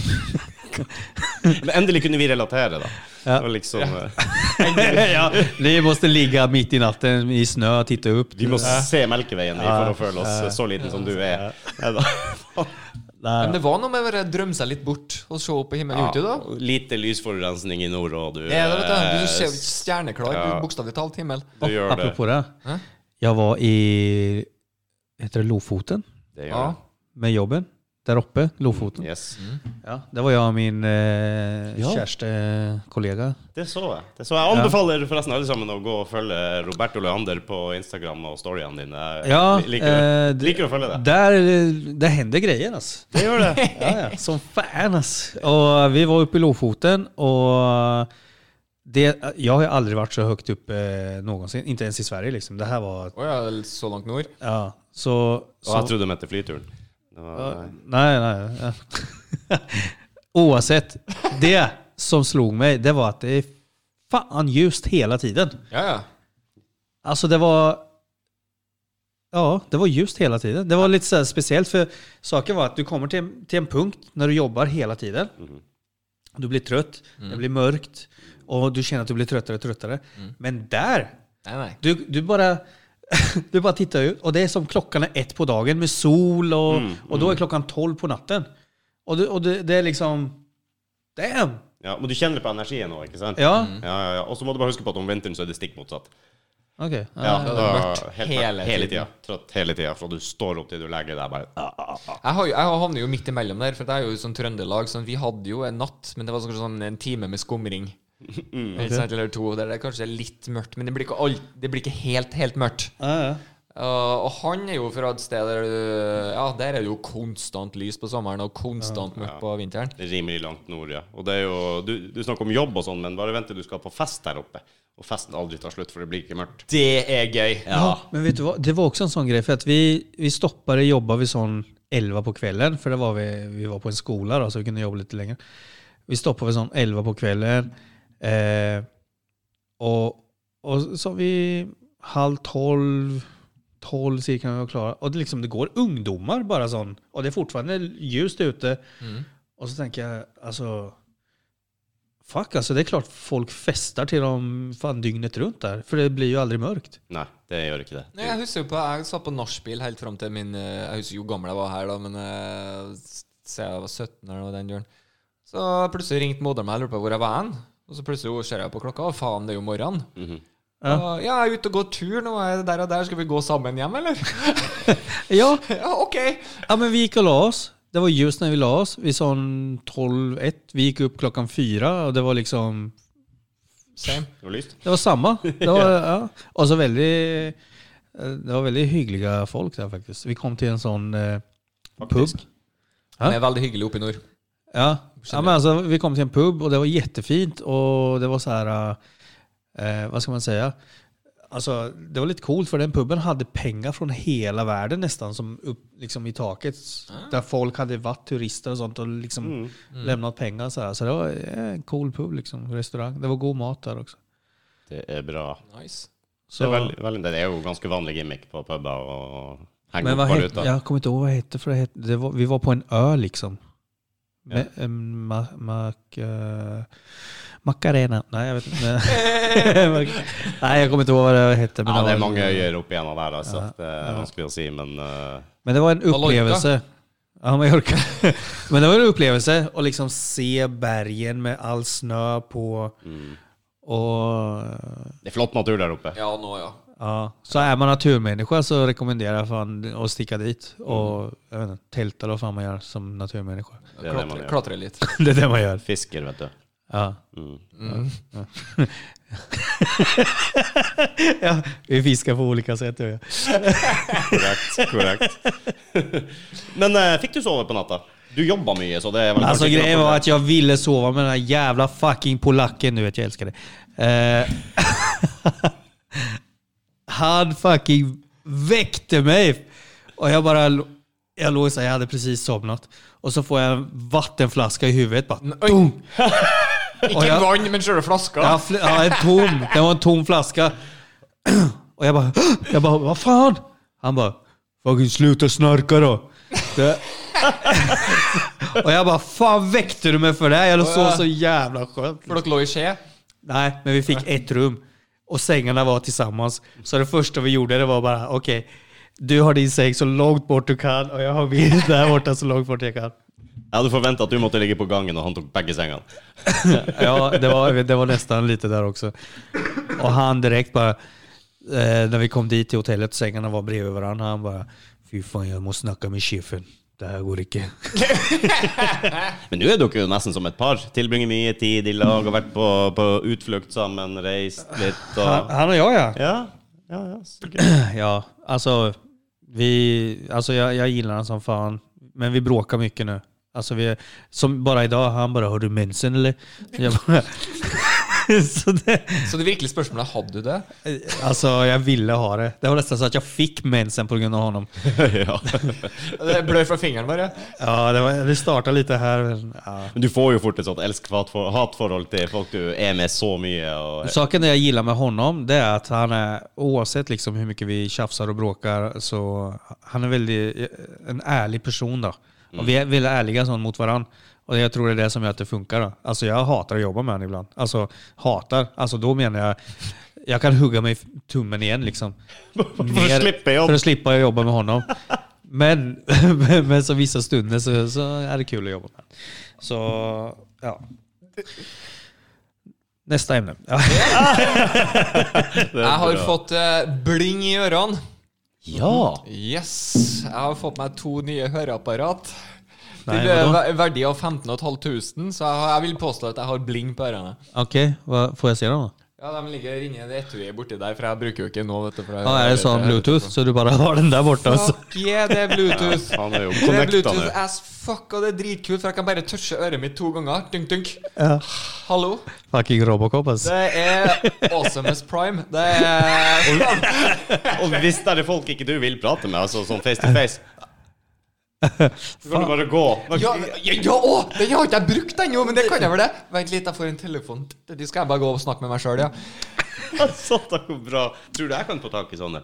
[SPEAKER 3] Men endelig kunne vi relatere, da.
[SPEAKER 4] Ja.
[SPEAKER 3] Det var liksom eh,
[SPEAKER 4] ja, ni måste ligga mitt i natten i snö och titta upp.
[SPEAKER 3] Vi må se Melkeveien i for å føle oss eh, så liten som du er. Neida.
[SPEAKER 4] Där.
[SPEAKER 2] Men det var noe med å bare drømme seg litt bort og se opp på himmelen ute, da.
[SPEAKER 3] Lite lysforurensning i nord, og du,
[SPEAKER 2] Det er det, vet du.
[SPEAKER 3] eh,
[SPEAKER 2] Du ser jo stjerneklar,
[SPEAKER 3] Ja.
[SPEAKER 2] bokstavelig talt, himmel.
[SPEAKER 3] du gjør det.
[SPEAKER 4] Apropå det.
[SPEAKER 2] Hæ?
[SPEAKER 4] Jag var i, heter det Lofoten?
[SPEAKER 2] Ja.
[SPEAKER 3] det gjør
[SPEAKER 4] Med jobben. Där uppe,
[SPEAKER 3] det.
[SPEAKER 4] Lofoten.
[SPEAKER 3] Yes.
[SPEAKER 4] Ja, det var jag och min eh,
[SPEAKER 3] Ja.
[SPEAKER 4] kärste kollega.
[SPEAKER 3] Det så jeg. Det så jeg anbefaler forresten alle sammen å gå og følge Roberto Leander på Instagram og storyene dine.
[SPEAKER 4] Ja,
[SPEAKER 3] Lik- liker,
[SPEAKER 4] eh,
[SPEAKER 3] du,
[SPEAKER 4] det-
[SPEAKER 3] liker du å følge det?
[SPEAKER 4] Där, där händer grejer
[SPEAKER 3] (laughs)
[SPEAKER 4] alltså.
[SPEAKER 3] Det gjør det.
[SPEAKER 4] (laughs) Ja, ja. Som fan alltså. Och vi var uppe i Lofoten och det, jag har ju aldrig varit så högt upp eh, någonsin. Inte ens i Sverige liksom. Det här var...
[SPEAKER 2] Å ja, så langt nord?
[SPEAKER 4] Ja, så...
[SPEAKER 3] Og
[SPEAKER 4] så
[SPEAKER 3] jeg trodde de het Flyturen. Det var, nei.
[SPEAKER 4] nej, nej. (laughs) Ja. Oavsett. Det som slog mig, det var att det är fan ljust hela tiden.
[SPEAKER 2] Ja, ja.
[SPEAKER 4] Alltså det var... Ja, det var ljust hela tiden. Det var lite så här speciellt för saken var att du kommer till en, till en punkt när du jobbar hela tiden. Du blir trött, det blir mörkt och du känner att du blir tröttare och tröttare. Men där,
[SPEAKER 2] Nei, nei.
[SPEAKER 4] du, du bara... (laughs) Du bara tittar ut och det är som klockan är ett på dagen med sol och, och då är klockan tolv på natten. Och, du, och det, det är liksom... Damn!
[SPEAKER 3] Ja, men du kjenner det på energien nå, ikke sant?
[SPEAKER 4] Ja,
[SPEAKER 3] Ja, ja, ja. Och så må du bare huske på at om vinteren så er det stikk motsatt.
[SPEAKER 4] okej. Ja.
[SPEAKER 3] Ja,
[SPEAKER 2] det er
[SPEAKER 3] da-
[SPEAKER 2] mørkt
[SPEAKER 3] helt
[SPEAKER 2] hele
[SPEAKER 3] hele tida.
[SPEAKER 2] tiden.
[SPEAKER 3] Trøtt hele tida. Fra du står opp til du legger deg, bare
[SPEAKER 2] Jeg, har, jo- jeg havner jo midt imellom der, for jeg er jo sånn Trøndelag. Sånn, vi hadde jo en natt, men det var kanskje sånn en time med skumring. Ikke sant, Eller to, der det er kanskje litt mørkt, men det blir ikke, alt, det blir ikke helt, helt mørkt.
[SPEAKER 4] Ja, ja.
[SPEAKER 2] Uh, og han er jo fra et sted der du- Ja, der er det jo konstant lys på sommeren og konstant mørkt på vinteren.
[SPEAKER 3] rimelig langt nord, ja. Og det er jo, du, du snakker om jobb og sånn, men bare vent til du skal på fest der oppe. Og festen aldri tar slutt, for det blir ikke mørkt.
[SPEAKER 2] Det er gøy.
[SPEAKER 4] Ja. Men vet du vad? Det var också en sån grej. För att vi, vi stoppade jobba vid sån 11 på kvällen. För det var vi, vi var på en skola då, så vi kunde jobba lite längre. Vi stoppade vid sån 11 på kvällen. Eh, och, och så vi halv tolv, tolv cirka när vi var klara. Och det, liksom, det går ungdomar bara sån. Och det är fortfarande ljust ute. Och så tänker jag, alltså... Fuck alltså, det är klart folk festar till dem fan dygnet runt där. För det blir ju aldrig mörkt.
[SPEAKER 3] Nei, det gjør ikke det.
[SPEAKER 2] Nei, Jeg husker jo på Jeg satt på nachspiel helt fram til min eh, Jeg husker jo hvor gammel jeg var her, da, men eh, s- se, jeg var 17 eller noe den døren. Så plutselig ringte moderen meg og lurte på hvor jeg var hen. Og så plutselig ser jeg på klokka, og faen, det er jo morgenen.
[SPEAKER 3] Mhm.
[SPEAKER 2] Og, ja, jeg er ute og går tur nå, er det der og der. Skal vi gå sammen hjem, eller?
[SPEAKER 4] (laughs) Ja,
[SPEAKER 2] (laughs) ja, OK.
[SPEAKER 4] Ja men vi gick och la oss. Det var ljust när vi la oss. Vi sa 12-1. Vi gick upp klockan fyra och det var liksom...
[SPEAKER 2] Same.
[SPEAKER 3] Det var lyst.
[SPEAKER 4] Det var samma. Det var, ja. Och så väldigt... eh, Det var väldigt hyggliga folk där faktiskt. Vi kom till en sån eh, pub.
[SPEAKER 3] Faktisk.
[SPEAKER 4] Hæ?
[SPEAKER 2] Det er veldig hyggelig oppe i nord.
[SPEAKER 4] Ja. ja men alltså, vi kom till en pub och det var jättefint och det var så här... Eh, vad ska man säga? Alltså, det var lite coolt för den puben hade pengar från hela världen nästan som upp liksom, i taket. Där folk hade varit turister och sånt och liksom
[SPEAKER 3] Mm.
[SPEAKER 4] lämnat pengar. Så, här. så det var eh, en cool pub, liksom, restaurang. Det var god mat där också.
[SPEAKER 3] Det er bra.
[SPEAKER 2] Nice.
[SPEAKER 4] Så,
[SPEAKER 3] Det er, veldig, veldig, det er jo ganske vanlig gimmick på puber og henge
[SPEAKER 4] men
[SPEAKER 3] opp
[SPEAKER 4] vad hette,
[SPEAKER 3] valuta.
[SPEAKER 4] jag kommer inte ihåg vad det hette, för det hette, det var, vi var på en ö liksom. Med, en ma, mak, eh, Macarena. Nej, jag vet
[SPEAKER 3] (laughs)
[SPEAKER 4] inte. Nej, jag kommer inte ihåg vad det hette. Men,
[SPEAKER 3] Ja, det er
[SPEAKER 4] var,
[SPEAKER 3] mange øyer opp igjennom der, altså.
[SPEAKER 4] Ja,
[SPEAKER 3] Det er vanskelig å si, men eh,
[SPEAKER 4] men det var en upplevelse. Ja, Mallorca. (laughs) men det var en upplevelse att liksom se bergen med all snö på.
[SPEAKER 3] Mm.
[SPEAKER 4] Och
[SPEAKER 3] det er flott natur der oppe.
[SPEAKER 2] Ja, nå, ja.
[SPEAKER 4] ja, Så är man naturmänniska så rekommenderar jag fan att sticka dit och jag vet inte, tälta eller vad fan man gör som naturmänniska.
[SPEAKER 3] Det er det man
[SPEAKER 2] Klatre,
[SPEAKER 3] gjør.
[SPEAKER 2] klatre litt.
[SPEAKER 4] (laughs)
[SPEAKER 3] (laughs)
[SPEAKER 4] det är det man gör.
[SPEAKER 3] Fisker, vet du.
[SPEAKER 4] Ja.
[SPEAKER 3] Mm.
[SPEAKER 4] Ja, vi fiskar på olika sätt. Ja.
[SPEAKER 3] Korrekt. korrekt. (laughs) men eh, fikk du sove på natta? Du jobba mye, så det er vel
[SPEAKER 4] Alltså
[SPEAKER 3] kanskje ikke
[SPEAKER 4] grejen
[SPEAKER 3] noe
[SPEAKER 4] var
[SPEAKER 3] problem.
[SPEAKER 4] att jag ville sova med den här jävla fucking polacken. Du vet, jag älskar dig. Eh, (laughs) han fucking väckte mig. Och jag bara... lo- Jag låg så här, jag hade precis somnat. Och så får jag en vattenflaska i huvudet. Bara,
[SPEAKER 2] Oi.
[SPEAKER 4] boom! Och
[SPEAKER 2] Ikke
[SPEAKER 4] jag,
[SPEAKER 2] vann, men sjøle flaska.
[SPEAKER 4] Ja, fl- ja, en tom. Det var en tom flaska. Och jag bara, jag bara, vad fan? Han bara, fucking sluta snarka då. Det. Och jag bara, fan väckte du mig för det här? Jag sov så jävla skönt.
[SPEAKER 2] For dere lå i skje.
[SPEAKER 4] Nej, men vi fick ett rum. Och sängarna var tillsammans. Så det första vi gjorde det var bara, okej, Du har din säng så långt bort du kan och jag har min där borta så långt bort jag kan.
[SPEAKER 3] Jeg hadde forventa at du måtte ligge på gangen, og han tok begge sengene.
[SPEAKER 4] (laughs) Ja, det var, det var nästan lite där också. Och han direkt bara, eh, när vi kom dit till hotellet, sängarna var bredvid varandra, han bara Fy fan, jag måste snacka med chefen. Det här går inte.
[SPEAKER 3] Men nå er dere jo nesten som et par. Tilbringer mye tid i lag, har vært på, på utflukt sammen, reist litt
[SPEAKER 4] Han,
[SPEAKER 3] og
[SPEAKER 4] han och jag ja.
[SPEAKER 3] Ja, ja, ja (laughs) sikkert.
[SPEAKER 4] (clears throat) Ja, alltså, vi, alltså jag, jag gillar honom som fan. Men vi bråkar mycket nu. Alltså vi, som bara idag, han bara “Har du mensen eller?” jag bara, (laughs) så det,
[SPEAKER 2] Så det virkelige spørsmålet er hadde du
[SPEAKER 3] (laughs)
[SPEAKER 2] det.
[SPEAKER 4] Alltså jag ville ha det. Det var nästan så att jag fick mensen på grund av honom.
[SPEAKER 3] ja.
[SPEAKER 2] Det blør fra fingeren bare.
[SPEAKER 4] Ja, det, var, det startade lite här. men, Ja.
[SPEAKER 3] Men du får jo fort et sånt elsk-hat-forhold til folk du er med så mye. Og,
[SPEAKER 4] Saken jag gillar med honom det är att han är, oavsett liksom hur mycket vi tjafsar och bråkar, så han är väldigt en ärlig person. Då. Och vi är väldigt ärliga sånt mot varandra. Och jag tror det är det som gör att det funkar. Då. Alltså jag hatar att jobba med honom ibland. Alltså hatar. Alltså då menar jag, jag kan hugga mig i tummen igen liksom.
[SPEAKER 3] for å slippe
[SPEAKER 4] För
[SPEAKER 3] jobb.
[SPEAKER 4] att slippa jobba med honom. Men, (laughs) men, men så vissa stunder så, så är det kul att jobba med Så, ja. Nästa ämne. Ja.
[SPEAKER 2] Jeg har fått eh, bling i ørene.
[SPEAKER 3] Ja!
[SPEAKER 2] Yes. Jeg har fått meg to nye høreapparat.
[SPEAKER 4] Nei,
[SPEAKER 2] Til eh,
[SPEAKER 4] vadå?
[SPEAKER 2] ver- verdi av 15 500, så jeg, har, jag vil påstå at jeg har bling på ørene.
[SPEAKER 4] Okej, vad- får jag se dem då?
[SPEAKER 2] Ja, de ligger inni det etuiet borti der, for jeg bruker jo ikke nå, vet du. For jeg,
[SPEAKER 4] Ja, är det sån bluetooth så du bara har den där borta? så-
[SPEAKER 2] Fuck yeah, det er
[SPEAKER 4] (laughs)
[SPEAKER 2] Bluetooth.
[SPEAKER 3] Han er jo
[SPEAKER 2] Det er
[SPEAKER 3] connecta nå.
[SPEAKER 2] Bluetooth as fuck, og det er dritkult, for jeg kan bare touche øret mitt to ganger. Dunk, dunk.
[SPEAKER 4] Ja.
[SPEAKER 2] Hallo.
[SPEAKER 4] Fucking Robocop alltså.
[SPEAKER 2] Det er awesomest prime. Det er
[SPEAKER 3] Og hvis det er folk ikke du vil prate med, altså sånn face to face Så kan du bare gå.
[SPEAKER 2] Ja,
[SPEAKER 3] (laughs)
[SPEAKER 2] ja, ja å, den har ikke jeg brukt ennå, men det kan jeg vel det? Vent litt, jeg får en telefon. Du skal jeg bare gå og snakke med meg sjøl, ja.
[SPEAKER 3] Altså, det går bra. Tror du jeg kan få tak i sånne?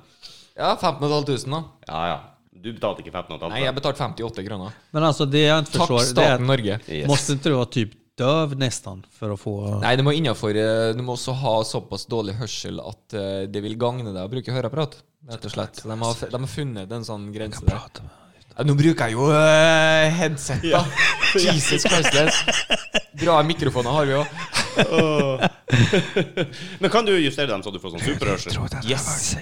[SPEAKER 2] Ja, 15 500, da.
[SPEAKER 3] Ja, ja. Du betalte ikke 15
[SPEAKER 2] Nei, jeg betalte 58 kroner.
[SPEAKER 4] Men alltså det jag inte
[SPEAKER 2] Takk
[SPEAKER 4] förstår, det är
[SPEAKER 2] staten
[SPEAKER 4] att,
[SPEAKER 2] Norge.
[SPEAKER 3] Yes.
[SPEAKER 4] måste inte du vara typ döv nästan för att få...
[SPEAKER 2] Nei, du må innenfor, eh, Du må også ha såpass dårlig hørsel at eh, det vil gagne deg å bruke høreapparat. Rett og slett. Så de, har, de har funnet en sånn grense der.
[SPEAKER 4] prata med-
[SPEAKER 2] Ja, nå bruker jeg jo eh, headset, (laughs) da. Jesus Christ. Bra mikrofoner har vi òg.
[SPEAKER 3] Åh. Men kan du justere dem så du får sånn superhørsel?
[SPEAKER 4] Yes.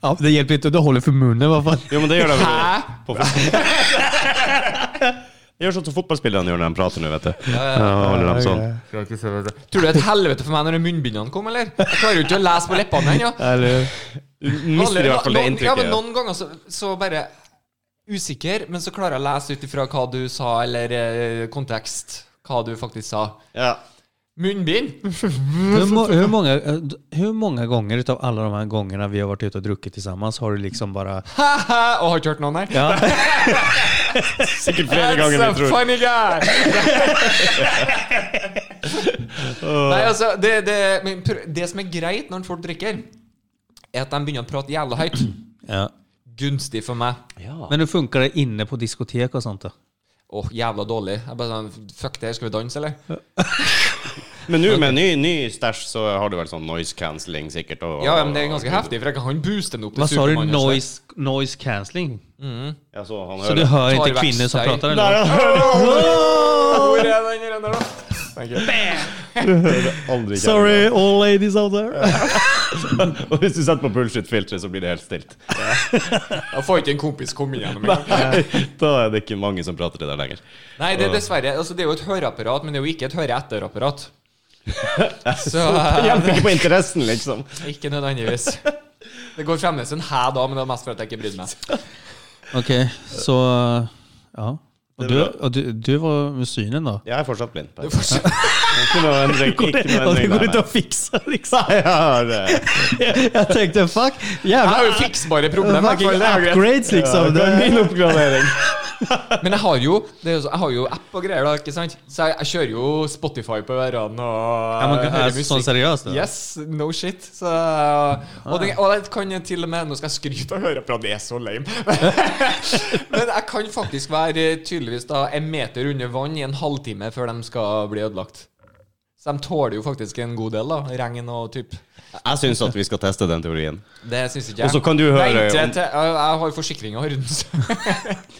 [SPEAKER 4] Ja, det hjälper inte att du håller för munnen. Vad fan?
[SPEAKER 3] Jo, men det gjør de jo
[SPEAKER 2] Hæ?
[SPEAKER 3] på fotball. (laughs) Det gjør sånn som fotballspillerne gjør når de prater nå, vet du. Ja, holder dem sånn.
[SPEAKER 2] Tror du det er et helvete for meg når munnbindene kom, eller? Jeg klarer jo ikke å lese på leppene ennå.
[SPEAKER 4] Eller,
[SPEAKER 3] Du mister i hvert fall det
[SPEAKER 2] Noen- Ja, men
[SPEAKER 3] inntrykket.
[SPEAKER 2] noen ganger så, så bare usikker, men så klarer jeg å lese ut ifra hva du sa, eller eh, kontekst, hva du faktisk sa.
[SPEAKER 3] Ja.
[SPEAKER 2] Munnbind?
[SPEAKER 4] hur, må, hur, många, eh, d- hur många gånger utav alla de här gångerna vi har varit ute och druckit tillsammans har du liksom bara...
[SPEAKER 2] Ha-ha! Og har ikke hørt noen her?
[SPEAKER 4] Ja, (laughs)
[SPEAKER 3] Sikkert flere ganger enn
[SPEAKER 2] a
[SPEAKER 3] jeg tror.
[SPEAKER 2] funny guy! Nei, altså, det, det, men pr- det som er greit når folk drikker, er at de begynner å prate jævla høyt.
[SPEAKER 4] ja.
[SPEAKER 2] Gunstig for meg.
[SPEAKER 4] Men hur funkar det inne på diskotek och sånt då?
[SPEAKER 2] Åh, jævla dårlig. Jeg bare sånn, Fuck det, her, skal vi danse, eller?
[SPEAKER 3] Men nå med ny, ny stæsj så har du vel sånn noise cancelling sikkert. Og,
[SPEAKER 2] Ja, ja, men det er ganske heftig, for jeg kan han booste den opp til
[SPEAKER 4] Vad sa du?
[SPEAKER 2] Supermann og slett.
[SPEAKER 4] Noise, noise cancelling?
[SPEAKER 3] Ja, så han
[SPEAKER 4] Så du
[SPEAKER 3] hører.
[SPEAKER 4] hör
[SPEAKER 2] Tar
[SPEAKER 4] inte kvinnor som
[SPEAKER 2] verktyg.
[SPEAKER 4] pratar?
[SPEAKER 3] Der,
[SPEAKER 4] Eller?
[SPEAKER 3] ja.
[SPEAKER 4] (laughs)
[SPEAKER 2] Hvor er den her enda, da? Thank you.
[SPEAKER 3] Aldri
[SPEAKER 4] Sorry all ladies out there.
[SPEAKER 3] kjenner. Og hvis du setter på bullshit-filteret, så blir det
[SPEAKER 4] (laughs)
[SPEAKER 3] helt stilt.
[SPEAKER 2] Jeg får ikke en kompis komme inn gjennom engang.
[SPEAKER 3] Da er det ikke mange som prater det der lenger.
[SPEAKER 2] Nei, det er dessverre altså, Det er jo et høreapparat, men det er jo ikke et
[SPEAKER 4] (laughs)
[SPEAKER 2] høre-etter-apparat. Så
[SPEAKER 4] Ah.
[SPEAKER 3] Det hjelper ikke på interessen, liksom.
[SPEAKER 2] ikke nødvendigvis. Det går fremdeles en hæ da, men det er mest for at jeg ikke
[SPEAKER 4] (laughs)
[SPEAKER 2] brydde meg.
[SPEAKER 4] (laughs) Okej, så... Ja. Och du, och du, du var med synen då?
[SPEAKER 3] Jeg er fortsatt blind.
[SPEAKER 4] (laughs)
[SPEAKER 3] Per. Ikke noe endring. Ikke
[SPEAKER 4] Och
[SPEAKER 3] noe
[SPEAKER 4] det går
[SPEAKER 3] endring der,
[SPEAKER 4] inte
[SPEAKER 3] nei.
[SPEAKER 4] att fixa liksom.
[SPEAKER 3] Nei, jeg har eh, det.
[SPEAKER 4] (laughs) Jag tänkte fuck,
[SPEAKER 2] Jeg har
[SPEAKER 4] jävlar.
[SPEAKER 2] jo fiksbare problemer.
[SPEAKER 4] Fucking
[SPEAKER 2] for det er greit.
[SPEAKER 4] upgrades liksom.
[SPEAKER 3] det er
[SPEAKER 4] Det-
[SPEAKER 3] min oppgradering.
[SPEAKER 2] Men jeg har jo det er jo så, Jeg har jo app och greier, da, ikke sant? Så jeg, jeg kjører jo Spotify på ørene og
[SPEAKER 4] Ja, men,
[SPEAKER 2] jeg hører
[SPEAKER 4] alltså, sån
[SPEAKER 2] musikk.
[SPEAKER 4] seriös då?
[SPEAKER 2] Yes, no shit. Så,
[SPEAKER 3] Ah.
[SPEAKER 2] og, det, og det kan jeg til og med Nå skal jeg skryte og høre på at det er så lame. (laughs) Men jeg kan faktisk være eh, tydeligvis da en meter under vann i en halvtime før de skal bli ødelagt. Så de tåler jo faktisk en god del, da. Regn og typ.
[SPEAKER 3] Jeg syns at vi skal teste den teorien.
[SPEAKER 2] Det syns ikke jeg.
[SPEAKER 3] Og så kan du
[SPEAKER 2] Nei,
[SPEAKER 3] høre
[SPEAKER 2] ikke
[SPEAKER 3] om-
[SPEAKER 2] til- jeg, jeg har forsikringa rundt, så
[SPEAKER 3] (laughs)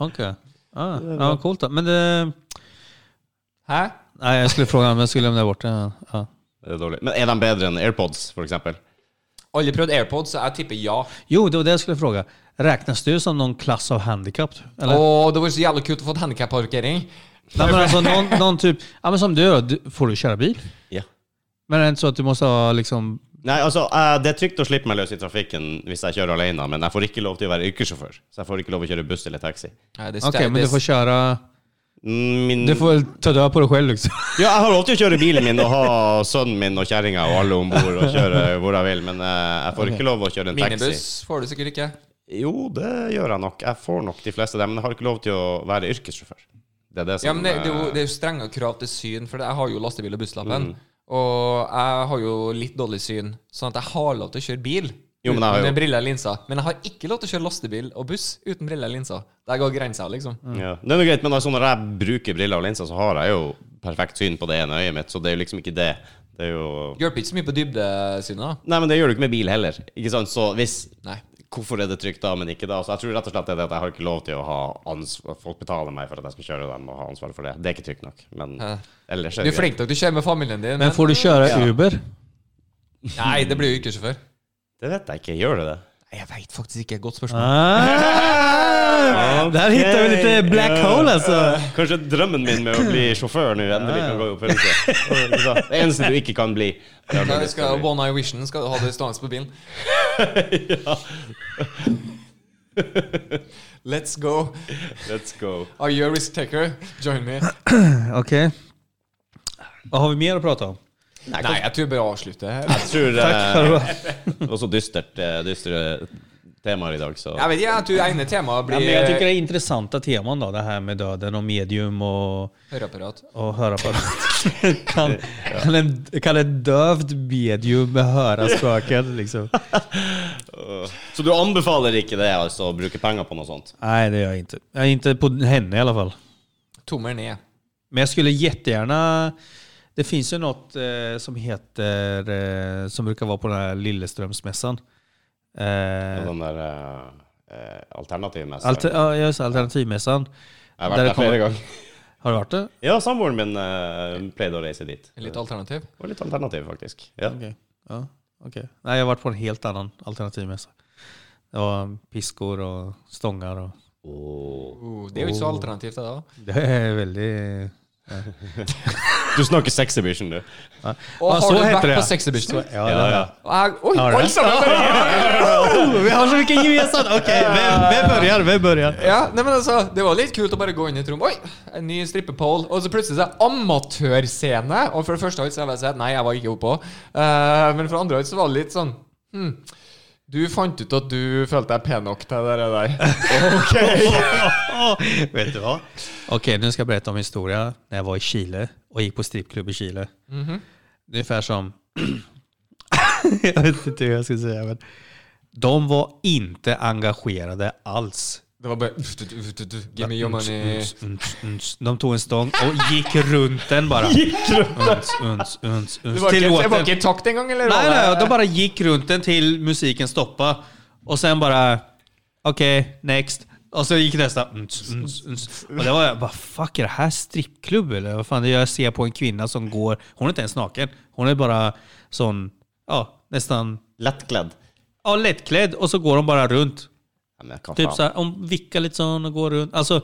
[SPEAKER 4] Ok. Ah, ja, coolt, da. Men det
[SPEAKER 2] Hæ?
[SPEAKER 4] Nej, jag skulle fråga men jag skulle lämna bort det. Ja.
[SPEAKER 3] Det er dårlig. Men er de bedre enn AirPods, f.eks.?
[SPEAKER 2] Aldri prøvd AirPods, så jeg tipper ja.
[SPEAKER 4] Jo, det var det jag skulle fråga. Räknas du som någon klass av handikapp? Eller?
[SPEAKER 2] Åh, det var så jævlig kult å få handikapparkering.
[SPEAKER 4] Nej, men alltså någon, någon typ, ja, men som du då, du, får du köra bil?
[SPEAKER 3] Ja.
[SPEAKER 4] Men är det inte så att du måste ha liksom,
[SPEAKER 3] Nei, altså, eh, det er trygt å slippe meg løs i trafikken hvis jeg kjører alene, men jeg får ikke lov til å være yrkessjåfør. Så jeg får ikke lov å kjøre buss eller taxi.
[SPEAKER 2] Okej,
[SPEAKER 4] okej men du får köra,
[SPEAKER 3] Mm, Min...
[SPEAKER 4] du får väl ta död på dig själv liksom.
[SPEAKER 3] Ja, jeg har lov til å kjøre bilen min og ha sønnen min og kjerringa og alle om bord og kjøre hvor jeg vil, men eh, jeg får ikke lov å kjøre en taxi.
[SPEAKER 2] Minibuss får du sikkert ikke.
[SPEAKER 3] Jo, det gjør jeg nok. Jeg får nok de fleste av dem, men jeg har ikke lov til å være yrkessjåfør. Det er det som
[SPEAKER 2] Ja, men det, det, er jo,
[SPEAKER 3] eh,
[SPEAKER 2] det er jo strenge krav til syn, for jeg har jo lastebil og busslappen.
[SPEAKER 3] Mm.
[SPEAKER 2] Og jeg har jo litt dårlig syn, sånn at jeg har lov til å kjøre bil
[SPEAKER 3] Jo, men jeg har jo-
[SPEAKER 2] uten briller og linser. Men jeg har ikke lov til å kjøre lastebil og buss uten briller og linser. Der går grensa, liksom.
[SPEAKER 3] eh, Ja. Det er noe greit, men altså, når jeg bruker briller og linser, så har jeg jo perfekt syn på det ene øyet mitt, så det er jo liksom ikke det. Det er jo
[SPEAKER 2] Hjelper ikke så mye på dybdesynet, da.
[SPEAKER 3] Nei, men det gjør du ikke med bil heller. Ikke sant? Så hvis
[SPEAKER 2] Nei.
[SPEAKER 3] Hvorfor er det trygt da, men ikke da? Så jeg tror rett og slett det er det at jeg har ikke lov til å ha ansvar Folk betaler meg for at jeg skal kjøre dem og ha ansvaret for det. Det er ikke trygt nok. Men
[SPEAKER 2] Ja.
[SPEAKER 3] ellers er
[SPEAKER 2] Du
[SPEAKER 3] det
[SPEAKER 2] er flink nok til å kjøre med familien din,
[SPEAKER 4] Men
[SPEAKER 2] men
[SPEAKER 4] får du köra Uber?
[SPEAKER 2] Nei, det blir jo yrkessjåfør.
[SPEAKER 3] greit. Det vet jeg ikke. Gjør det det?
[SPEAKER 2] Nei, Jeg veit faktisk ikke. Godt spørsmål.
[SPEAKER 4] Ah, Där hittar vi lite black hole alltså.
[SPEAKER 3] Kanskje drømmen min med å bli sjåfør nå endelig kan gå i oppfyllelse. Det eneste du ikke kan bli. det er
[SPEAKER 2] Ja,
[SPEAKER 3] når
[SPEAKER 2] vi
[SPEAKER 3] du skal
[SPEAKER 2] skal,
[SPEAKER 3] bli-
[SPEAKER 2] one eye vision skal du ha det stående på
[SPEAKER 3] (laughs)
[SPEAKER 2] bilen. Let's go.
[SPEAKER 3] Let's go.
[SPEAKER 2] Are you a risk taker? Join me.
[SPEAKER 4] Okej. Vad har vi mer att prata om?
[SPEAKER 2] Nei, jeg tror jeg bør avslutte her.
[SPEAKER 3] Jeg tror
[SPEAKER 4] Tack för
[SPEAKER 3] eh,
[SPEAKER 4] det.
[SPEAKER 3] Det var så dystert, eh, dystre temaer i dag, så
[SPEAKER 2] Jeg vet ikke, jeg tror ene temaet
[SPEAKER 4] Ja, men jag tycker
[SPEAKER 2] blir
[SPEAKER 4] det är intressanta teman då, det här med döden och medium och
[SPEAKER 2] høreapparat.
[SPEAKER 4] och hörapparat. (laughs) kan, kan, en, kan en dövd medium höra spöken liksom?
[SPEAKER 3] Så du anbefaler ikke det, altså, å bruke penger på noe sånt?
[SPEAKER 4] Nej, det gör jag inte. Jag är inte på henne i alla fall.
[SPEAKER 2] Tommel ned.
[SPEAKER 4] Men jag skulle jättegärna... Det finns ju något eh, som heter... Eh, som brukar vara på den här Lilleströmsmässan.
[SPEAKER 3] Og
[SPEAKER 4] Eh,
[SPEAKER 3] Den der eh, eh, alternativmessa.
[SPEAKER 4] alter, ja, just det, alternativmässan. der
[SPEAKER 3] Jeg har vært
[SPEAKER 4] det
[SPEAKER 3] der flere
[SPEAKER 4] kommer-
[SPEAKER 3] ganger.
[SPEAKER 4] Har du varit det?
[SPEAKER 3] Ja, samboeren min eh, pleide å reise dit.
[SPEAKER 2] Litt alternativ.
[SPEAKER 3] Det var litt alternativ, faktisk. Ja.
[SPEAKER 4] Okej. Ja, okej. Nej, jag har varit på en helt annan alternativmässa. Det var piskor och stångar och...
[SPEAKER 2] Oh, det er jo ikke så alternativt, det da.
[SPEAKER 4] Det är väldigt...
[SPEAKER 3] Du snakker sexhibition, du.
[SPEAKER 2] Og
[SPEAKER 4] Ja,
[SPEAKER 2] har
[SPEAKER 4] så
[SPEAKER 2] du
[SPEAKER 4] heter
[SPEAKER 2] vært
[SPEAKER 4] det.
[SPEAKER 2] på sexhibition?
[SPEAKER 4] Ja,
[SPEAKER 3] Ja, ja.
[SPEAKER 2] Oi,
[SPEAKER 4] Har du
[SPEAKER 2] alle
[SPEAKER 4] det?
[SPEAKER 2] sammen!
[SPEAKER 4] Oh, Vi har så mycket gemensamt! Okej, vem, vem börjar? Vem börjar?
[SPEAKER 2] Ja, nei, men altså, Det var litt kult å bare gå inn i et rom. Oi, en ny strippepoll. Og så plutselig så er det amatørscene. Og for det første så har jeg sagt nei, jeg var ikke oppå. Eh, men for det andre så var det litt sånn hm, Du fant ut at du følte deg pen nok til det der.
[SPEAKER 4] Vet du vad? Okej, nu ska jag berätta om en historia när jag var i Chile och gick på strippklubb i Chile. Ungefär som... (clears throat) jag vet inte hur jag ska säga, men... De var inte engagerade alls.
[SPEAKER 2] Det var bare Give me your money.
[SPEAKER 4] Uns, uns, uns. De tog en stång och gick runt den bara. (laughs) Gick runt den? Uns, uns, uns, uns.
[SPEAKER 2] Du var
[SPEAKER 4] Till
[SPEAKER 2] ikke,
[SPEAKER 4] låten.
[SPEAKER 2] jeg var ikke i takt engang, eller?
[SPEAKER 4] Nej,
[SPEAKER 2] var det-
[SPEAKER 4] nej, de bara gick runt den till musiken stoppa Och sen bara, okej, next. Och så gick nästa. Mm, mm, mm. Och det var jag bara, fuck är det här strippklubb eller? Vad fan, det jag ser på en kvinna som går, hon är inte ens naken. Hon är bara sån, ja, nästan,
[SPEAKER 3] Lettkledd.
[SPEAKER 4] ja, lättklädd och så går hon bara runt.
[SPEAKER 3] Ja, men hva faen?
[SPEAKER 4] Typ så här, om vickar lite sån och går runt. Alltså,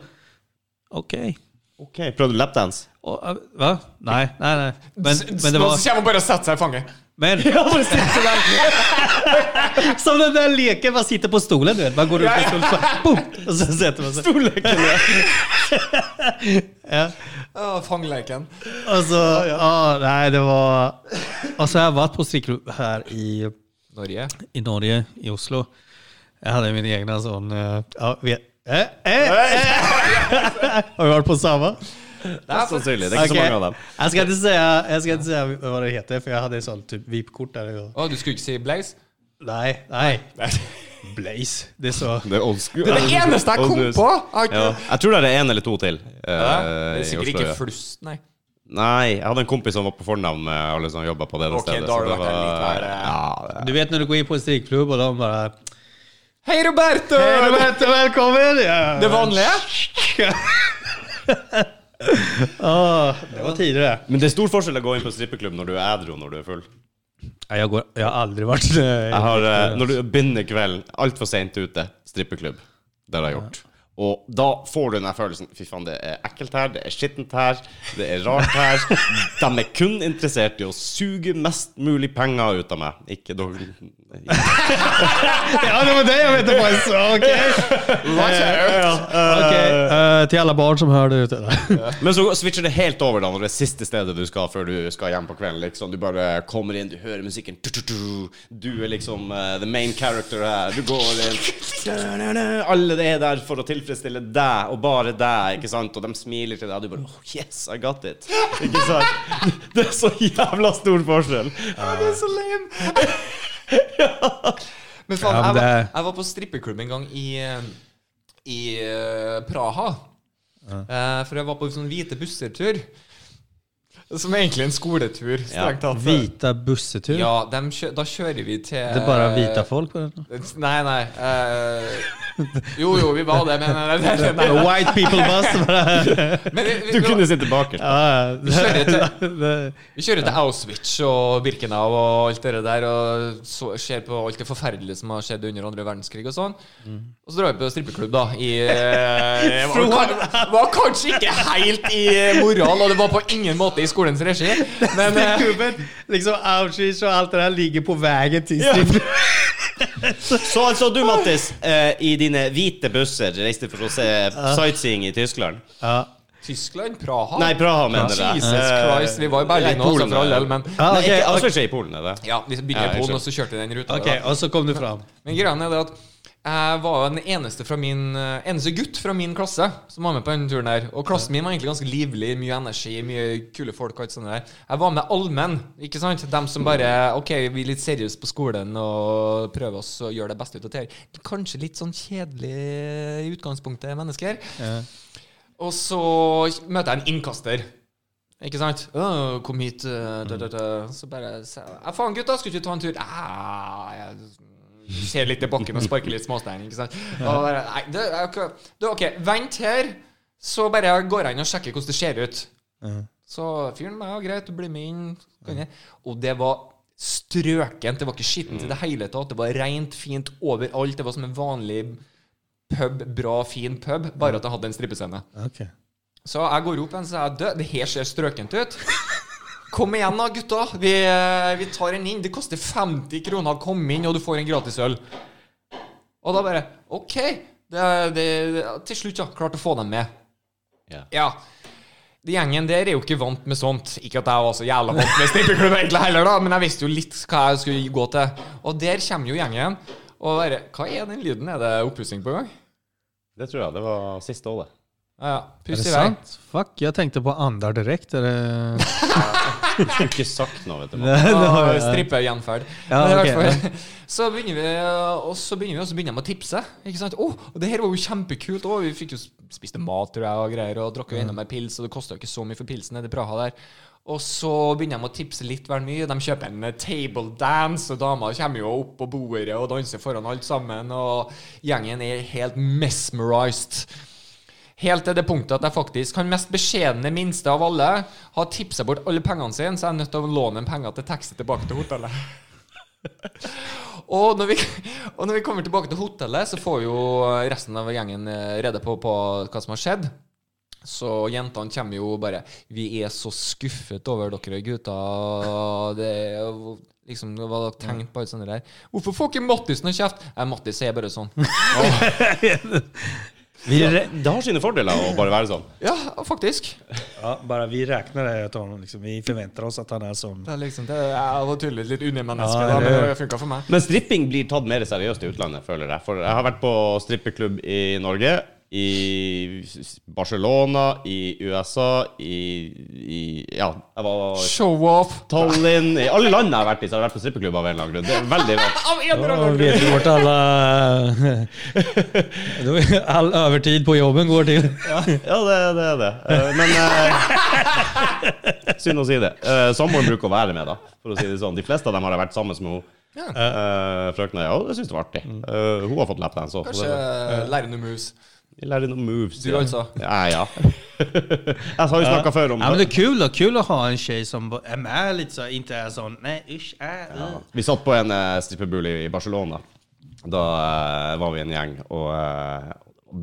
[SPEAKER 4] okej.
[SPEAKER 3] OK, prøvde du lapdance?
[SPEAKER 4] Och, äh, Va? Nej, nej, nej. Men, men det
[SPEAKER 2] Nå
[SPEAKER 4] var...
[SPEAKER 2] kommer hun bare og setter seg i fanget.
[SPEAKER 4] (laughs) Men... Som den där leken man sitter på stolen, du vet. Man går upp på stolen så bara, boom, och så sätter man sig. Storleken, ja.
[SPEAKER 2] Å, fangleken.
[SPEAKER 4] Och så, ja, nej det var... Och så har jag varit på strikklubb här i,
[SPEAKER 2] Norge.
[SPEAKER 4] i Norge, i Oslo. Jag hade min egna sån... eh, Ja, vet, eh, eh, eh. (laughs) Har vi varit på samma?
[SPEAKER 3] Mest sannsynlig. Det er ikke så
[SPEAKER 4] Okej.
[SPEAKER 3] mange av dem.
[SPEAKER 4] Jag ska inte säga, jag ska inte säga vad det heter, för jag hade ett sånt typ VIP-kort där. Jag,
[SPEAKER 2] Å, du skulle ikke si Blaze?
[SPEAKER 4] Nej, nej. Blaze. Det är så.
[SPEAKER 3] Det er old school.
[SPEAKER 2] Det er det eneste jeg kom på! Jeg har ikke-
[SPEAKER 3] Ja. Jeg tror det er en eller to til. eh,
[SPEAKER 2] Ja, det er
[SPEAKER 3] i
[SPEAKER 2] sikkert
[SPEAKER 3] Oslo, ja.
[SPEAKER 2] ikke flust, nei.
[SPEAKER 3] Nei, jeg hadde en kompis som var på fornavn med alle som jobba på det
[SPEAKER 2] Ok,
[SPEAKER 3] stedet.
[SPEAKER 2] da har
[SPEAKER 3] så
[SPEAKER 2] du
[SPEAKER 3] det
[SPEAKER 2] vært en litt verre.
[SPEAKER 3] ja, det-
[SPEAKER 4] Du vet når du går inn på en strikklubb, og de bare
[SPEAKER 2] Hei, Roberto!
[SPEAKER 4] velkommen!
[SPEAKER 2] Det vanlige?
[SPEAKER 4] det var tidligere.
[SPEAKER 3] Men det er stor forskjell å gå inn på strippeklubb når du er edru og når du er full.
[SPEAKER 4] Nei, Jeg, går, jeg har aldri vært
[SPEAKER 3] Jeg har, eh, når du begynner kvelden altfor seint ute, strippeklubb. Det har jeg gjort. Og da får du den her følelsen Fy faen, det er ekkelt her, det er skittent her, det er rart her. De er kun interessert i å suge mest mulig penger ut av meg. Ikke dårlig
[SPEAKER 4] Ja, det var det jeg mente på! Ok, eh, til alle barn som hører det ute. (laughs)
[SPEAKER 3] Men så switcher det helt over da når det er siste stedet du skal før du skal hjem på kvelden. liksom Du bare kommer inn, du hører musikken. Tu, tu, tu. Du er liksom eh, the main character her. Du går inn (laughs) Da-da-da. Alle er der for å tilfredsstille deg og bare deg, ikke sant? Og de smiler til deg, og du bare oh, Yes, I got it. Ikke sant? (laughs) Det er så jævla stor forskjell.
[SPEAKER 2] Det er så lame! Men faen,
[SPEAKER 4] Ja, men
[SPEAKER 2] jeg, var,
[SPEAKER 4] det-
[SPEAKER 2] jeg var på strippeklubb en gang i, eh, i eh, Praha. Eh, for jeg var på en sånn hvite busser-tur. Som er egentlig en skoletur, strengt tatt.
[SPEAKER 4] Hvita bussetur.
[SPEAKER 2] Ja, dem kjø da kjører vi til
[SPEAKER 4] Det er bare hvita folk på den.
[SPEAKER 2] Nei, nei. eh, jo, jo, vi var det, men nei, nei, nei, nei.
[SPEAKER 4] White people bus. (laughs)
[SPEAKER 2] Men vi,
[SPEAKER 3] Du
[SPEAKER 2] vi,
[SPEAKER 3] kunne sitte bakerst.
[SPEAKER 4] (laughs)
[SPEAKER 2] Vi kjører til Auschwitz og Birkenau og alt det der og så, ser på alt det forferdelige som har skjedd under andre verdenskrig og sånn. Og så drar vi på strippeklubb, da. I, eh, var, kan- var kanskje ikke helt i eh, moral, og det var på ingen måte i skolens regi, men
[SPEAKER 4] (laughs)
[SPEAKER 2] eh,
[SPEAKER 4] liksom outreach og alt det der ligger på veien til (laughs) strippklubben.
[SPEAKER 3] Så altså du, Mattis, eh, i dine hvite busser reiste for å se sightseeing i Tyskland.
[SPEAKER 4] Ja.
[SPEAKER 2] Tyskland? Praha?
[SPEAKER 3] Nei, Praha mener jeg.
[SPEAKER 2] Jesus
[SPEAKER 3] Eh,
[SPEAKER 2] Christ, vi var i Berlin
[SPEAKER 3] nei,
[SPEAKER 2] også,
[SPEAKER 3] Polen,
[SPEAKER 2] for all
[SPEAKER 3] ja.
[SPEAKER 2] del, men
[SPEAKER 4] Ja,
[SPEAKER 3] Nei,
[SPEAKER 4] ok,
[SPEAKER 3] ikke,
[SPEAKER 4] ok.
[SPEAKER 3] altså skje i Polen, er det?
[SPEAKER 2] ja, vi
[SPEAKER 3] Ja,
[SPEAKER 2] begynner
[SPEAKER 3] jeg
[SPEAKER 2] i Polen,
[SPEAKER 3] skjønner.
[SPEAKER 2] og så kjørte vi den ruta.
[SPEAKER 4] Ok,
[SPEAKER 2] da.
[SPEAKER 4] og så kom du fram.
[SPEAKER 2] Men greia er det at jeg var den eneste, fra min, eh, eneste gutt fra min klasse som var med på denne turen. her Og klassen min var egentlig ganske livlig. Mye energi, mye kule folk. og alt sånt der Jeg var med allmenn. ikke sant? Dem som bare Ok, vi er litt seriøse på skolen og prøver oss å gjøre det beste ut av det. her. Kanskje litt sånn kjedelig i utgangspunktet mennesker. Og så møter jeg en innkaster. Ikke sant? «Å, 'Kom hit.' eh, Da, da, da. Så bare sa jeg, «Ja, 'Faen, gutta, skal ikke vi ta en tur?' Ah, jeg ser litt i bakken og sparker litt småstein. Ikke sant? Og bare, Nei, det, er ikke- det, er OK, vent her, så bare går jeg inn og sjekker hvordan det ser ut. Så fyren meg, ja, greit, du blir med inn. så kan jeg». Og det var strøkent. Det var ikke skittent i det hele tatt. Det var rent, fint overalt. Det var som en vanlig pub, bra, fin pub, bare at jeg hadde en strippescene.
[SPEAKER 4] Okay.
[SPEAKER 2] Så jeg går opp igjen, så jeg død. Det her ser strøkent ut. Kom igjen, da, gutta. Vi, eh, vi tar en inn. Det koster 50 kroner å komme inn, og du får en gratis øl. Og da bare OK. Det, det, det, til slutt, ja. Klarte å få dem med.
[SPEAKER 3] Ja.
[SPEAKER 2] ja. De gjengen der er jo ikke vant med sånt. Ikke at jeg var så jævla vant med strippeklubb egentlig heller, da, men jeg visste jo litt hva jeg skulle gå til. Og der kommer jo gjengen. Og bare Hva er den lyden? Er det oppussing på gang?
[SPEAKER 3] Det tror jeg. Det var siste året.
[SPEAKER 2] Ja, ja.
[SPEAKER 4] Er
[SPEAKER 2] Pust
[SPEAKER 4] det
[SPEAKER 2] i vei.
[SPEAKER 4] sant? Fuck, jeg tenkte på Andar direkte. Det...
[SPEAKER 3] Du skulle ikke sagt noe, vet du. Mats.
[SPEAKER 2] Og strippe gjenferd.
[SPEAKER 4] Ja,
[SPEAKER 2] Men i
[SPEAKER 4] ok,
[SPEAKER 2] hvert fall, (laughs) Så begynner vi, og så begynner vi, og så begynner de å tipse. Ikke sant? Å, og det her var jo kjempekult. Å, vi fikk jo spiste mat tror jeg, og greier, og drakk jo
[SPEAKER 4] Mm.
[SPEAKER 2] enda mer pils, og det kosta jo ikke så mye for pilsen nede i Praha der. Og så begynner de å tipse litt vel mye. De kjøper en eh, table dance, og dama kommer jo opp på bordet og danser foran alt sammen, og gjengen er helt mesmerized. Helt til det punktet at jeg faktisk, han mest beskjedne minste av alle, har tipsa bort alle pengene sine, så jeg er nødt til å låne en penger til taxi tilbake til hotellet. Og når, vi, og når vi kommer tilbake til hotellet, så får jo resten av gjengen eh, rede på, på hva som har skjedd. Så jentene kommer jo bare Vi er så skuffet over dere gutter. Det er jo liksom Hva dere tenkte på alt sånt der. Hvorfor får ikke Mattis noe kjeft? Nei, Mattis er bare sånn.
[SPEAKER 4] Vi,
[SPEAKER 3] Det har sine fordeler å bare være sånn.
[SPEAKER 2] Ja, faktisk.
[SPEAKER 4] ja, bara vi räknar det att han, liksom, vi forventer oss att han er som...
[SPEAKER 2] Det er liksom, det er jo tydeligvis litt
[SPEAKER 4] Ja,
[SPEAKER 2] undermenneske,
[SPEAKER 4] det er
[SPEAKER 2] da, men
[SPEAKER 4] det.
[SPEAKER 2] det funka for meg.
[SPEAKER 3] Men stripping blir tatt mer seriøst i utlandet, føler jeg. For jeg har vært på strippeklubb i Norge, i Barcelona, i USA, i, i Ja, jeg var
[SPEAKER 2] Show-off!
[SPEAKER 3] Tallinn I alle land jeg har vært i, så har jeg vært på strippeklubb av en eller annen grunn. Det er veldig rart.
[SPEAKER 2] Av en
[SPEAKER 5] Då
[SPEAKER 2] eller annen
[SPEAKER 5] vet vi vart alla...
[SPEAKER 3] (laughs)
[SPEAKER 5] Då är All övertid på jobben går till.
[SPEAKER 3] Ja, det det er det. Eh, Men eh, Synd å si det. Eh, Samboeren bruker å være med, da. For å si det sånn. De fleste av dem har jeg vært sammen med henne. Eh, Frøkna ja, det syns det var artig. Eh, hun har fått lapdance òg.
[SPEAKER 2] Mm. Kanskje Lærnumus.
[SPEAKER 3] Vi lærer noen moves.
[SPEAKER 2] Du
[SPEAKER 3] ja.
[SPEAKER 2] altså.
[SPEAKER 3] Ja, ja. (laughs) Jeg har jo snakka før om
[SPEAKER 4] Ja, men det är kul då. Kul att ha en tjej som bara är med lite så här, inte är sån, nej usch, äh, uh.
[SPEAKER 3] Ja. Vi satt på en uh, strippebul i Barcelona. Da eh, var vi en gjeng, og eh,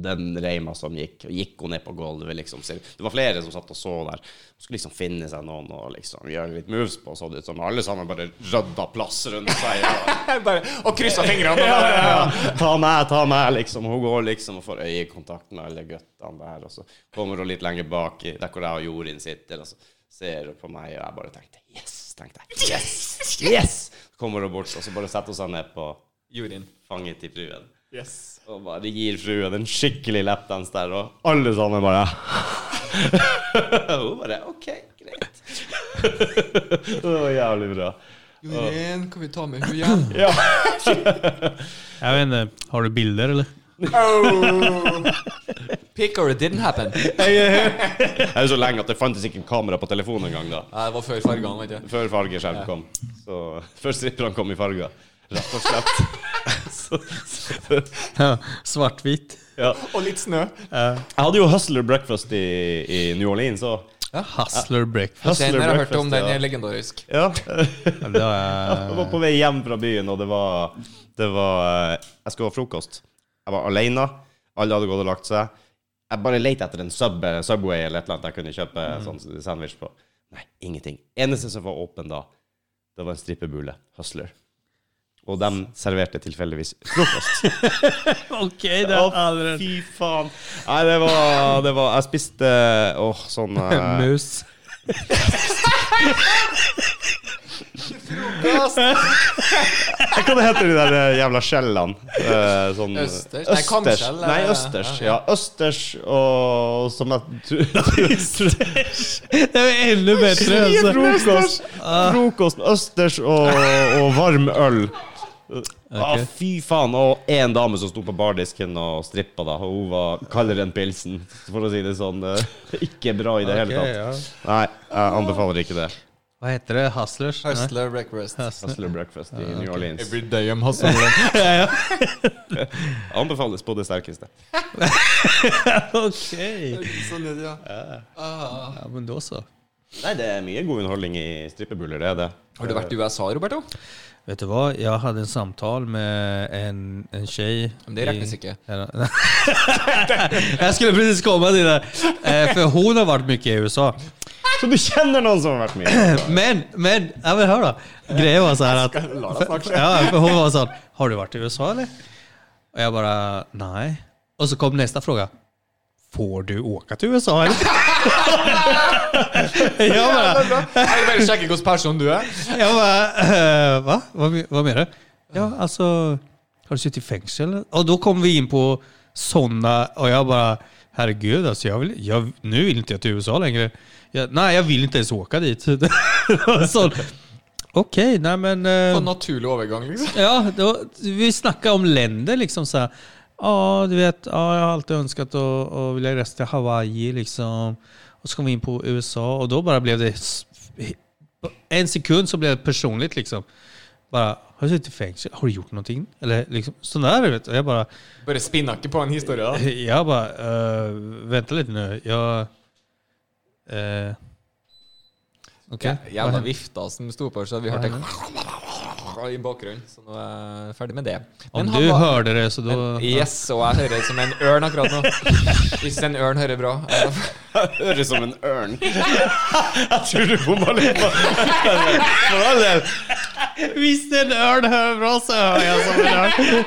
[SPEAKER 3] den reima som gikk, gikk hun ned på gulvet, liksom. Så Det var flere som satt og så der. Hun skulle liksom finne seg noen og liksom gjøre litt moves på, så det ut som alle sammen bare rydda plass rundt seg. Og,
[SPEAKER 2] Bare, og kryssa fingrene.
[SPEAKER 3] ja, ja, ja. Ta meg, ta meg, liksom. Hun går liksom og får øyekontakt med alle guttene der. Og så kommer hun litt lenger bak, i- der hvor jeg og Jorin sitter, og så ser hun på meg, og jeg bare tenkte yes, tenkte jeg. Yes! Yes! Så kommer hun bort, og så bare setter hun seg ned på
[SPEAKER 2] Jorinn.
[SPEAKER 3] fanget til fruen.
[SPEAKER 2] Yes.
[SPEAKER 3] Og bare gir fruen en skikkelig lapdance der, og alle sammen (laughs) bare Hun bare OK, greit. (laughs) det var jævlig bra.
[SPEAKER 2] Jorinn, kan vi ta med
[SPEAKER 4] (laughs)
[SPEAKER 2] henne igjen?
[SPEAKER 4] Jag vet inte, har du bilder eller? Oh.
[SPEAKER 2] Pick or it didn't happen.
[SPEAKER 3] Det er jo så lenge at det fantes ikke kamera på telefonen engang da.
[SPEAKER 2] Nei, det var før fargene, vet du.
[SPEAKER 3] Før fargeskjerm kom. Så, (laughs) før stripperne kom i farger. Rett og slett.
[SPEAKER 2] (laughs)
[SPEAKER 3] så, så,
[SPEAKER 4] Ja, svartvitt.
[SPEAKER 3] ja.
[SPEAKER 2] Og litt snø.
[SPEAKER 3] Jeg hadde jo Hustler Breakfast i, i New Orleans òg.
[SPEAKER 4] Hustler breakfast.
[SPEAKER 2] Den har jeg hørt om, den
[SPEAKER 3] ja.
[SPEAKER 2] er legendarisk.
[SPEAKER 3] Ja. (laughs)
[SPEAKER 4] Ja, det var-
[SPEAKER 3] Jeg var på vei hjem fra byen, og det var, det var eh, Jeg skulle ha frokost. Jeg var alene. Alle hadde gått og lagt seg. Jeg bare lette etter en sub, eh, Subway eller et eller annet jeg kunne kjøpe
[SPEAKER 2] Mhm.
[SPEAKER 3] sånn sandwich på. Nei, ingenting. Eneste som var åpen da, det var en strippebule. Hustler. Og de serverte tilfeldigvis frokost.
[SPEAKER 4] (laughs) Okej, det
[SPEAKER 3] Å,
[SPEAKER 4] har aldrig...
[SPEAKER 3] fy faen. Nei, det var, det var Jeg spiste åh, sånn eh,
[SPEAKER 4] Mus.
[SPEAKER 3] Hva det heter de der eh, jævla skjellene? Eh, sånn,
[SPEAKER 2] Østers? Nei, kamskjell,
[SPEAKER 3] Nei,
[SPEAKER 2] eh,
[SPEAKER 3] østers. Ja, østers og som jeg tror
[SPEAKER 4] Det var ännu bättre alltså.
[SPEAKER 3] Frokost, frokost østers og, og varm øl. Ah, fy faen. Og én dame som sto på bardisken og strippa, da. Og hun var kaldere enn pilsen, for å si det sånn. eh, (laughs) Ikke bra i det hele
[SPEAKER 4] Okej,
[SPEAKER 3] tatt.
[SPEAKER 4] ja.
[SPEAKER 3] Nei, jeg anbefaler ikke det.
[SPEAKER 4] Vad heter det? Hustlers? Nej.
[SPEAKER 2] Hustler breakfast.
[SPEAKER 3] Hustler breakfast i New Orleans.
[SPEAKER 2] Every day I'm
[SPEAKER 4] (laughs)
[SPEAKER 2] hustling.
[SPEAKER 3] Anbefales på det sterkeste.
[SPEAKER 4] Okej.
[SPEAKER 2] sånn er det, ja.
[SPEAKER 4] Ja, men då så.
[SPEAKER 3] Nei, det er mye god underholdning i strippebuller, det er det.
[SPEAKER 2] Har du vært i USA, Roberto?
[SPEAKER 4] Vet du vad? Jag hade en samtal med en, en tjej.
[SPEAKER 2] Men det
[SPEAKER 4] i-
[SPEAKER 2] räknas inte.
[SPEAKER 4] (laughs) jag skulle precis komma till det. Eh, för hon har varit mycket i USA.
[SPEAKER 3] Så du kjenner noen som har vært
[SPEAKER 4] (laughs)
[SPEAKER 3] med?
[SPEAKER 4] Men, men, ja men hör då. Grejen var så här att... Ja, för hon var sån, har du varit i USA eller? Och jag bara, nej. Och så kom nästa fråga. Får du åka till USA eller? (laughs) jag bara,
[SPEAKER 2] (laughs) Jeg vil bare sjekke hvilken person du er.
[SPEAKER 4] Jag bara, eh, va? Vad, me- vad menar du? Ja, alltså, har du suttit i fängelse eller? Och då kom vi in på sådana och jag bara, herregud alltså, jag vill, jag, nu vill inte jag till USA längre. Jag, nej, jag vill inte ens åka dit. (laughs) Så, Okej, nej men... eh,
[SPEAKER 2] På en naturlig overgang, liksom.
[SPEAKER 4] Ja, då, vi snackar om länder liksom så här. Ja, du vet, ja, jag har alltid önskat att, att vilja resa till Hawaii liksom. Och så kom vi in på USA och då bara blev det... s- på En sekund så blev det personligt liksom. Bara, har du suttit i fängelse? Har du gjort någonting? Eller liksom, sådär du vet. Och jag bara,
[SPEAKER 2] Bare spinner ikke på en historie, da.
[SPEAKER 4] jag bara, eh, vänta lite nu. Jag... eh, Okej.
[SPEAKER 2] Jævla vifta som sto på, så vi hørte i bakgrunnen. Så nå er jeg ferdig med det.
[SPEAKER 4] Om
[SPEAKER 2] han
[SPEAKER 4] du
[SPEAKER 2] var-
[SPEAKER 4] hørte det så då...
[SPEAKER 2] Yes, og jeg hører det som en ørn akkurat nå. Hvis en ørn hører bra.
[SPEAKER 3] Høres som en (laughs) ørn. Jeg tror du bomma litt på For all del.
[SPEAKER 4] (laughs) Visst en örn hör bra så hör jag som en örn.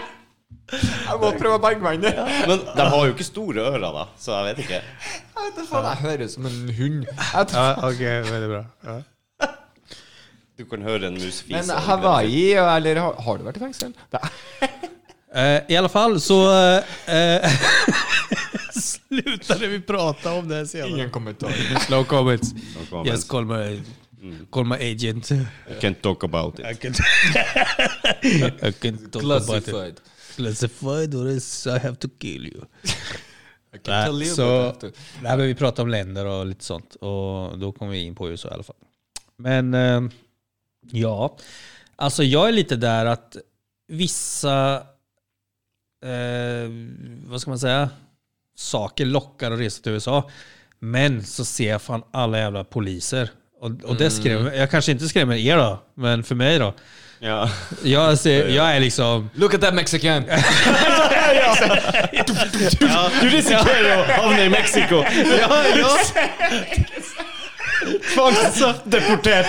[SPEAKER 2] Jeg må prøve å berge meg inn.
[SPEAKER 3] Men de har jo ikke store ører, da, så jeg vet ikke.
[SPEAKER 2] Jeg vet da faen, jeg hører som en hund. Jeg tror-
[SPEAKER 4] Ja, okej, väldigt bra. Ja.
[SPEAKER 3] Du kan høre en mus fise.
[SPEAKER 2] Men Hawaii, eller har, har du vært i fengsel? Nei.
[SPEAKER 4] Eh, I alla fall så... eh, eh,
[SPEAKER 6] (laughs) Slutade vi prata om det här senare?
[SPEAKER 2] Ingen kommentar.
[SPEAKER 6] Slow comments.
[SPEAKER 3] comments.
[SPEAKER 6] Yes, call my, call my agent. (laughs) I
[SPEAKER 3] I can't talk about it.
[SPEAKER 6] can, (laughs) I can talk about it.
[SPEAKER 2] Classified.
[SPEAKER 6] Classified or else I have to kill you.
[SPEAKER 2] I can tell
[SPEAKER 6] Nej,
[SPEAKER 2] you
[SPEAKER 6] så,
[SPEAKER 2] about that.
[SPEAKER 4] nej, men vi pratade om länder och lite sånt. Och då kom vi in på USA i alla fall. Men eh, ja, alltså jag är lite där att vissa, eh, vad ska man säga, saker lockar att resa till USA. Men så ser jag fan alla jävla poliser. Och, och det skrämmer,
[SPEAKER 3] Mm.
[SPEAKER 4] jag kanske inte skrämmer er då, men för mig då.
[SPEAKER 3] Ja.
[SPEAKER 4] Jag, ser, jag är liksom...
[SPEAKER 2] Look at that Mexican.
[SPEAKER 4] (laughs)
[SPEAKER 3] Du riskerar att hamna i Mexiko. Ja, ja. Tvångsdeporterad.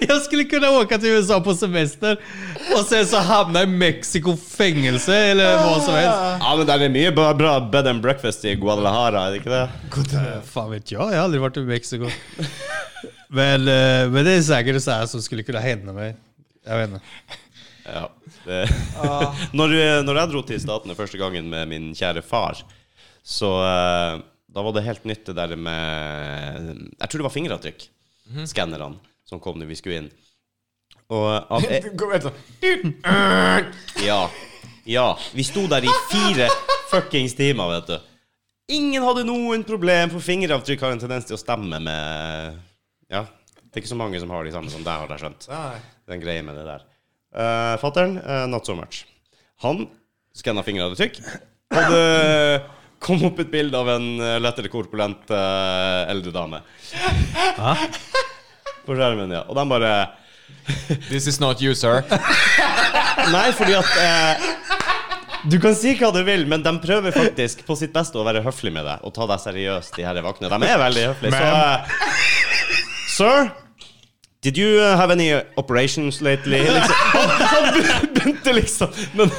[SPEAKER 6] Jag skulle kunna åka till USA på semester och sen så hamna i Mexiko fängelse eller vad som helst.
[SPEAKER 3] Ja, men det är mycket bra, bra bed and breakfast i Guadalajara, är det inte det?
[SPEAKER 6] Fan vet jag, jag har aldrig varit i Mexiko. Men, eh, men det är säkert så här som skulle kunna hända mig. Jag vet inte.
[SPEAKER 3] Ja. Det. (laughs) Når, eh, når jeg dro til Statene første gangen med min kjære far, så eh, da var det helt nytt det der med Jeg tror det var fingeravtrykk. Skannerne som kom når vi skulle inn. Og at
[SPEAKER 2] (laughs)
[SPEAKER 3] jeg,
[SPEAKER 2] Gå, vent, så.
[SPEAKER 3] Ja. Ja. Vi sto der i fire fuckings timer, vet du. Ingen hadde noen problem, for fingeravtrykk har en tendens til å stemme med Ja. Det er ikke så mange som har de samme som deg, har jeg skjønt.
[SPEAKER 2] Nei.
[SPEAKER 3] Den greia med det der. Uh, Fattern, eh, not so much. Han skanna fingeravtrykk. Hadde (laughs) kom opp et bilde av en eh, lettere korpulent eh, eldre dame. På skjermen, ja. Og de bare
[SPEAKER 2] This is not you, sir.
[SPEAKER 3] Nei, fordi at eh, Du kan si hva du vil, men de prøver faktisk på sitt beste å være høflig med deg og ta deg seriøst, de her vaktene. De er veldig høflige. Så eh, Sir, did you eh, have any operations lately? Liksom. Han, han begynte liksom men,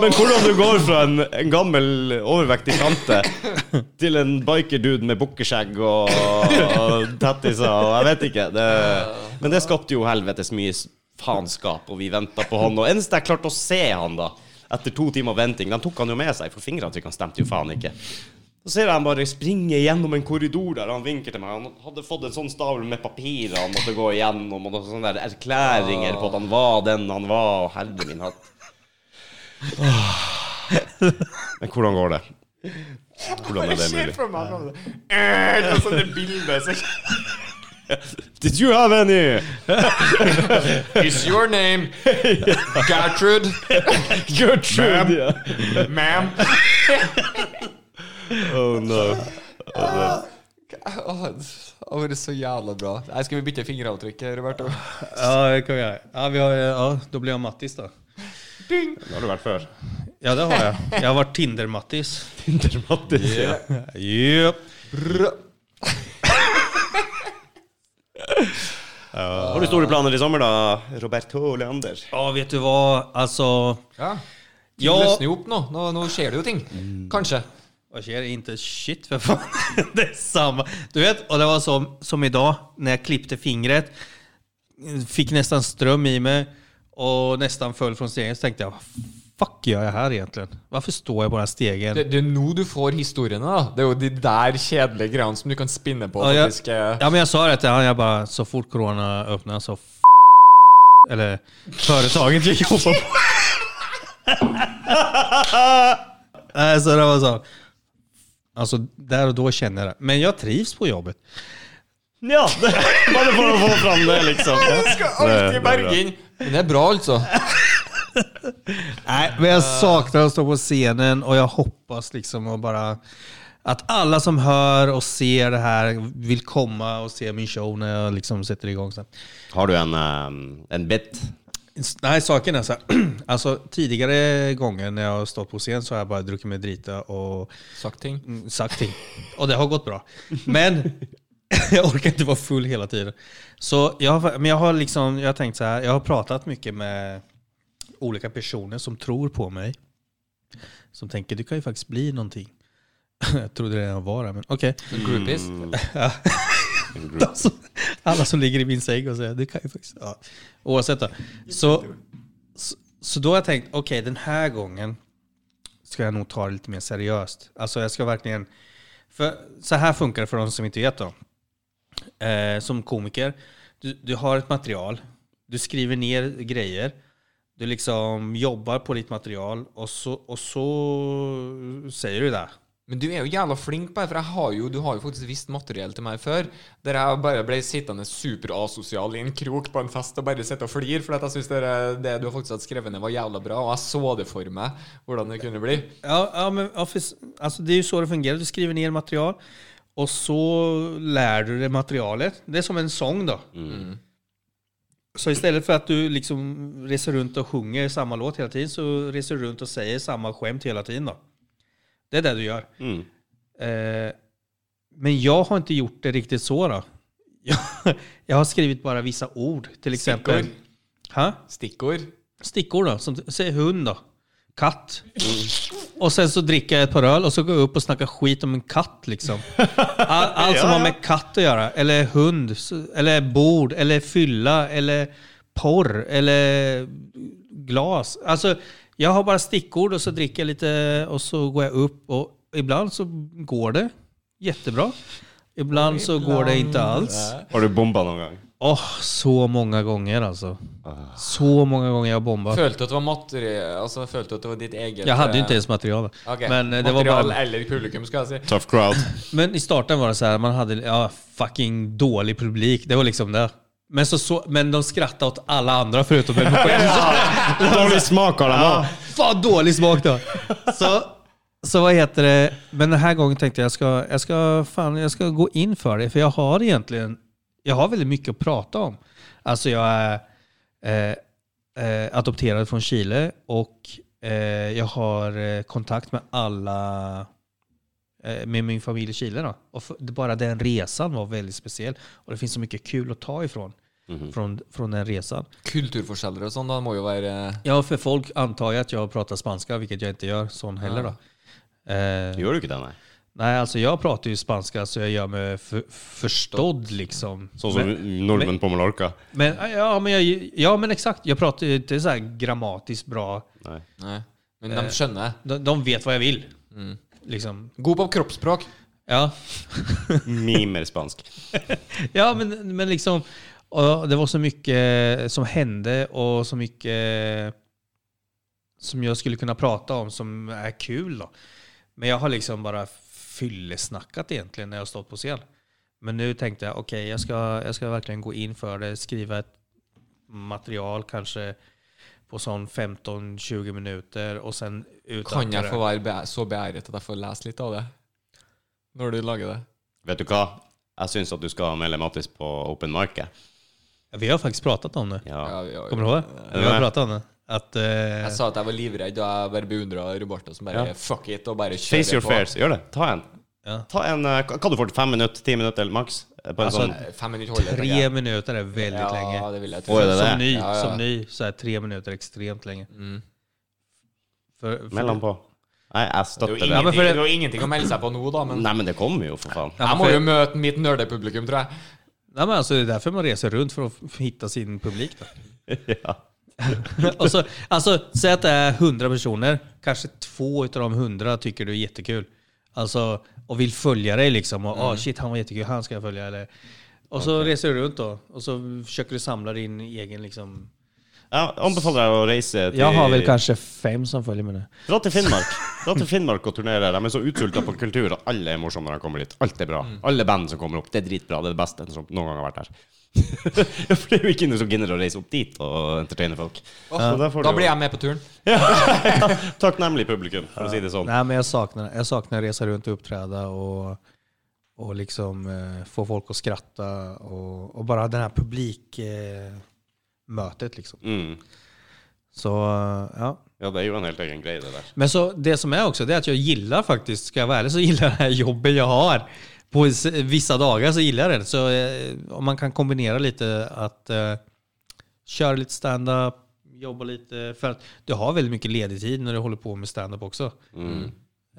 [SPEAKER 3] men hvordan du går fra en, en gammel, overvektig tante til en bikerdude med bukkeskjegg og, og tattiser og jeg vet ikke det, Men det skapte jo helvetes mye s- faenskap, og vi venta på han. Og eneste jeg klarte å se han, da, etter to timer venting De tok han jo med seg, for fingeravtrykkene stemte jo faen ikke. Så ser jeg han bare springe gjennom en korridor der han vinker til meg. Han hadde fått en sånn stavel med papirer han måtte gå igjennom, og noen sånne der erklæringer på at han var den han var, og herre min hatt. Åh. Ah. Men hvordan går det? Hvordan er det mulig? Did you have any
[SPEAKER 2] Is your name Gertrude?
[SPEAKER 3] Gertrude? Yeah.
[SPEAKER 2] Ma'am?
[SPEAKER 3] Oh no.
[SPEAKER 2] Åh, Det var så jävla bra. Nej, ska vi byta fingeravtryck, Roberto?
[SPEAKER 4] Ja, det kan vi göra. Ja, vi har, ja, då blir jag Mattis då.
[SPEAKER 3] Det har du vært før.
[SPEAKER 4] Ja, det har jag. Jag har varit Tinder-Mattis.
[SPEAKER 3] Tinder-Mattis.
[SPEAKER 4] Yep.
[SPEAKER 3] Har du store planer i sommer, da? Roberto Leander.
[SPEAKER 4] Ja, vet du vad? Alltså...
[SPEAKER 2] Ja. Ja.
[SPEAKER 4] Ja.
[SPEAKER 2] Lösna ihop nu. Nu, nu sker det ju ting. Kanske.
[SPEAKER 4] Vad sker? Inte shit för fan. (laughs) Det är samma. Du vet, och det var som, som idag när jag klippte fingret. Fick nästan ström i mig och nästan föll från stegen. Så tänkte jag, vad fuck gör jag här egentligen? Varför står jag på den här stegen?
[SPEAKER 2] Det, det är nu du får historierna. då. Det är ju de där kedliga grejerna som du kan spinna på.
[SPEAKER 4] Ja, jag,
[SPEAKER 2] faktiskt, eh.
[SPEAKER 4] ja, men jag sa det till honom, jag bara, så fort corona öppnar så f- Eller företaget jag jobbar på. (laughs) Nej, så det var så. Alltså där och då känner jag det. Men jag trivs på jobbet.
[SPEAKER 3] Ja, det, (laughs) bare for å få fram det, liksom. Jeg skal
[SPEAKER 2] Alltid Bergin. Men det är bra alltså.
[SPEAKER 4] Nej, men jag saknar att stå på scenen och jag hoppas liksom och bara att alla som hör och ser det här vill komma och se min show när jag liksom sätter igång sen.
[SPEAKER 3] Har du en, ehm, en bit?
[SPEAKER 4] Nej, saken är så här. (clears throat) Alltså, tidigare gånger när jag har stått på scen så har jag bara druckit mig drita och
[SPEAKER 2] Sagt ting.
[SPEAKER 4] mm, sagt ting. Och det har gått bra. Men (laughs) jag orkar inte vara full hela tiden. Så jag, har- men jag har liksom, jag har tänkt så här, jag har pratat mycket med olika personer som tror på mig. Som tänker, du kan ju faktiskt bli någonting. (laughs) Jag trodde det redan var det, men okej.
[SPEAKER 2] Groupies.
[SPEAKER 4] (laughs) Alltså, alla, som, alla som ligger i min säng och säger det kan ju faktiskt... Ja. Oavsett då. Så, så, Så då har jag tänkt, okej den här gången ska jag nog ta det lite mer seriöst. Alltså jag ska verkligen... För så här funkar det för de som inte vet då. Eh, som komiker, du, du har ett material, du skriver ner grejer, du liksom jobbar på ditt material och så, och så säger du det.
[SPEAKER 2] Men du er jo jævla flink på det, for jeg har jo, du har jo faktisk visst materiell til meg før, der jeg bare ble sittende superasosial i en krok på en fest og bare sitte og flire, for at jeg syns det, det du har faktisk hadde skrevet ned, var jævla bra, og jeg så det for meg, hvordan det kunne bli.
[SPEAKER 4] Ja, ja men ja, för, alltså, det är ju så det fungerar. Du skriver ner material och så lär du dig materialet. Det är som en sång då. Så istället för att du liksom reser runt och sjunger samma låt hela tiden så reser du runt och säger samma skämt hela tiden då. Det är det du gör.
[SPEAKER 3] Mm.
[SPEAKER 4] Eh, men jag har inte gjort det riktigt så då. (laughs) Jag, jag har skrivit bara vissa ord till exempel.
[SPEAKER 2] Stickord.
[SPEAKER 4] Ha?
[SPEAKER 2] Stikkord.
[SPEAKER 4] stickor då. Som, säg hund då. Katt. Och sen så dricker jag ett par öl och så går jag upp och snackar skit om en katt liksom. All, allt som har med katt att göra. Eller hund. så- Eller bord. Eller fylla. Eller porr. Eller glas. Alltså, jag har bara stickord och så dricker jag lite och så går jag upp och ibland så går det jättebra. Ibland så går det inte alls.
[SPEAKER 3] Har du bombat någon gång?
[SPEAKER 4] Åh, så många gånger altså. Så många gånger jag har bombat.
[SPEAKER 2] Følte at det var materiell, altså følte at det var ditt eget eh,
[SPEAKER 4] Jag hade ju inte ens material.
[SPEAKER 2] Ok,
[SPEAKER 4] Men, eh, det var
[SPEAKER 2] material
[SPEAKER 4] bara,
[SPEAKER 2] eller publikum, skal jeg si.
[SPEAKER 3] Tough crowd.
[SPEAKER 4] men i starten var det så här, man hade ja, fucking dålig publik. Det var liksom det. Men, så, så, men de skrattade åt alla andra förutom mig själv.
[SPEAKER 3] (laughs) Dålig smak har de ja.
[SPEAKER 4] Fan dålig smak då. Så, så vad heter det? Men den här gången tänkte jag jag ska, jag ska, fan, jag ska gå in för det. För jag har egentligen jag har väldigt mycket att prata om. Alltså jag är eh, eh, adopterad från Chile och eh, jag har eh, kontakt med alla eh, med min familj i Chile. Då. Och för, det- bara den resan var väldigt speciell. Och det finns så mycket kul att ta ifrån från, från den resan.
[SPEAKER 2] Kulturforskjeller og sånn, da må jo være
[SPEAKER 4] Ja, för folk antar ju att jag pratar spanska, vilket jag inte gör sån heller då. Eh,
[SPEAKER 3] Gör du inte det? Nej.
[SPEAKER 4] nej, alltså jag pratar ju spanska så jag gör mig för, förstådd liksom.
[SPEAKER 3] Så som norrmän på Mallorca.
[SPEAKER 4] Men, eh, ja, men jag, ja, men exakt. Jag pratar ju inte så här grammatiskt bra.
[SPEAKER 3] Nej.
[SPEAKER 2] Nei. Men
[SPEAKER 4] Eh.
[SPEAKER 2] de skjønner.
[SPEAKER 4] De, de vet vad jag vill. Liksom.
[SPEAKER 2] God på kroppsspråk.
[SPEAKER 4] Ja.
[SPEAKER 3] Mimer spansk.
[SPEAKER 4] ja, men, men liksom. Och det var så mycket som hände och så mycket som jag skulle kunna prata om som är kul. Då. Men jag har liksom bara fyllesnackat egentligen när jeg har stått på scen. Men nu tänkte jag, okej, jag, ska, jag ska verkligen gå in för det, skriva ett material kanske på sån 15-20 minuter och sen utanför
[SPEAKER 2] Kan jeg
[SPEAKER 4] det.
[SPEAKER 2] få være be så beæret at jeg får lese litt av det? Når du lager det?
[SPEAKER 3] Vet du vad? Jag syns att du ska anmäla Mattis på open market.
[SPEAKER 4] Vi har faktiskt pratat om det.
[SPEAKER 3] Ja.
[SPEAKER 2] Ja, vi har jo-
[SPEAKER 4] Kommer du ihåg? Vi har pratat om det. Att, eh,
[SPEAKER 2] Jeg sa at jeg var livredd, og jeg bare beundra Roberto som bare
[SPEAKER 3] Ja.
[SPEAKER 2] fuck it och bare
[SPEAKER 3] Face
[SPEAKER 2] kjører
[SPEAKER 3] your
[SPEAKER 2] på.
[SPEAKER 3] fares. Gör det. Ta en.
[SPEAKER 4] Ja.
[SPEAKER 3] Ta en, eh, kan du få till fem minuter, tio minuter eller max? eh, På en
[SPEAKER 4] Alltså,
[SPEAKER 3] sån.
[SPEAKER 2] Eh, Fem minutter holder.
[SPEAKER 4] Tre
[SPEAKER 2] tenker jeg.
[SPEAKER 4] minuter är väldigt
[SPEAKER 2] Ja,
[SPEAKER 4] länge.
[SPEAKER 2] det vil jeg
[SPEAKER 3] Oi,
[SPEAKER 2] tro.
[SPEAKER 3] det er
[SPEAKER 4] Som
[SPEAKER 3] det.
[SPEAKER 4] ny,
[SPEAKER 2] Ja, ja.
[SPEAKER 4] som ny så är tre minuter extremt länge. För, för,
[SPEAKER 3] Mellanpå. Nej, jag
[SPEAKER 2] Det er
[SPEAKER 3] stöttar
[SPEAKER 2] jo
[SPEAKER 4] Ja, men
[SPEAKER 3] det.
[SPEAKER 4] for
[SPEAKER 2] ingenting,
[SPEAKER 4] det-
[SPEAKER 2] det er jo ingenting å melde seg på nå, da, men
[SPEAKER 3] Nej men det kommer ju för fan.
[SPEAKER 4] Ja,
[SPEAKER 2] jeg
[SPEAKER 4] men
[SPEAKER 2] må
[SPEAKER 4] för-
[SPEAKER 2] jo møte mitt nerdepublikum, tror jeg.
[SPEAKER 4] Nej, men alltså, det är därför man reser runt för att f- hitta sin publik. Då.
[SPEAKER 3] Ja.
[SPEAKER 4] (laughs) och så, alltså, säg att det är 100 personer, kanske två utav de 100 tycker du är jättekul. Alltså, och vill följa dig liksom. Och, ah, shit, han var jättekul, han ska jag följa. Eller, och så reser du runt då och så försöker du samla din egen liksom...
[SPEAKER 3] Ja, anbefaler deg å reise til
[SPEAKER 4] kanske fem som följer mig nu.
[SPEAKER 3] Dra til Finnmark. Dra til Finnmark og turnere. De er så utsulta på kultur, og alle er morsomme når de kommer dit. Alt er bra. Alle band som kommer opp, det er dritbra. Det er det beste som noen gang har (laughs) vært her. Ja, For det er jo ikke noe som gidder å reise opp dit og entertaine folk. Så der får
[SPEAKER 2] Da
[SPEAKER 3] du
[SPEAKER 2] blir
[SPEAKER 3] jo-
[SPEAKER 2] jeg med på turen.
[SPEAKER 3] Takknemlig publikum, for å si det sånn.
[SPEAKER 4] Nej, men jag saknar, jag saknar att resa runt och uppträda och, och liksom, eh, få folk att skratta och, och bara den här publikmötet. Eh, mötet liksom.
[SPEAKER 3] Mm.
[SPEAKER 4] Så, eh, ja.
[SPEAKER 3] Ja, det er jo en helt egen greie, det der.
[SPEAKER 4] Men så, det som är också, det är att jag gillar faktiskt, ska jag vara ärlig, så gillar jag det här jobbet jag har. På s- vissa dagar så gillar jag det. Så eh, om man kan kombinera lite att eh, köra lite stand-up, jobba lite. För att du har väldigt mycket ledig tid när du håller på med stand-up också. Eh,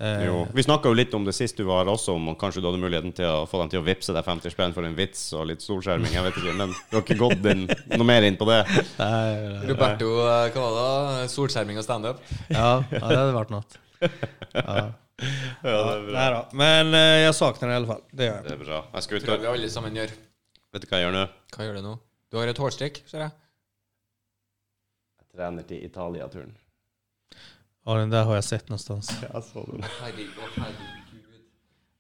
[SPEAKER 3] Mm. Jo. Vi snakka jo litt om det sist du var her også, om kanskje du hadde muligheten til å få dem til å vippse deg 50 spenn for en vits og litt solskjerming. Jeg vet ikke, men du har ikke gått inn, noe mer inn på det?
[SPEAKER 2] Roberto, eh, hva var det? da? Solskjerming og standup?
[SPEAKER 7] Ja, ja, det hadde vært något. Ja.
[SPEAKER 4] Nei da. Men eh, jeg sakner det i alle fall. Det gjør jeg.
[SPEAKER 3] Det er bra. Jeg skal ut
[SPEAKER 2] Tror
[SPEAKER 3] og
[SPEAKER 2] vi alle sammen gjør.
[SPEAKER 3] Vet du hva jeg gjør nå?
[SPEAKER 2] Hva gjør du nå? Du har et hårstrikk, ser jeg.
[SPEAKER 3] Jeg trener til Italia-turen.
[SPEAKER 4] Ja, den der har jeg sett någonstans.
[SPEAKER 3] Jeg så den.
[SPEAKER 2] Herregud, å herregud.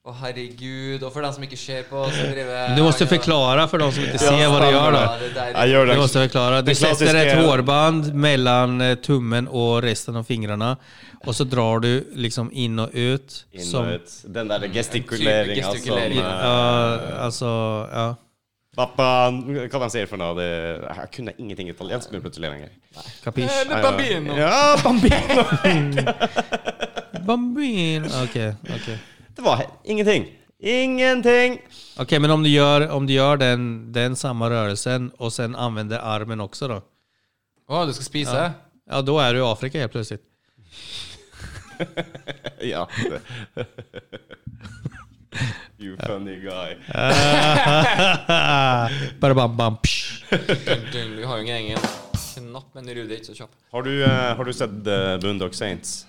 [SPEAKER 2] Å herregud. Og for den som ikke ser på, så driver
[SPEAKER 4] Men du måste förklara för de som inte ser vad du gör då.
[SPEAKER 3] Jeg gjør
[SPEAKER 4] Du
[SPEAKER 3] det.
[SPEAKER 4] måste förklara. Du
[SPEAKER 3] Det
[SPEAKER 4] sätter
[SPEAKER 3] klassiska-
[SPEAKER 4] ett hårband mellan eh, tummen och resten av fingrarna. Och så drar du liksom in och ut.
[SPEAKER 3] Inn
[SPEAKER 4] som,
[SPEAKER 3] og ut. Den der gestikuleringa
[SPEAKER 2] Type
[SPEAKER 3] som
[SPEAKER 2] gestikulering.
[SPEAKER 3] eh,
[SPEAKER 4] Ja, alltså, ja.
[SPEAKER 3] Pappa, hva de sier for noe? Det, jeg kunne ingenting italiensk nå plutselig lenger.
[SPEAKER 4] Kapisch.
[SPEAKER 2] Eller bambino.
[SPEAKER 3] Ja,
[SPEAKER 4] (laughs)
[SPEAKER 3] bambino.
[SPEAKER 4] Bambin. Okej, okej.
[SPEAKER 3] Det var he- ingenting. Ingenting.
[SPEAKER 4] Okej, men om du gör, om du gör den, den samma rörelsen och sen använder armen också då?
[SPEAKER 2] Å, du skal spise?
[SPEAKER 4] Ja, då är du i Afrika helt plötsligt.
[SPEAKER 3] Ja. (laughs) You funny guy.
[SPEAKER 4] Bara bam, bam, psh. (laughs)
[SPEAKER 2] Dun, dun, Vi har jo ingen egen knapp, men Rudi er ikke så kjapp.
[SPEAKER 3] Har du, eh, har du sett eh, Boondock Saints?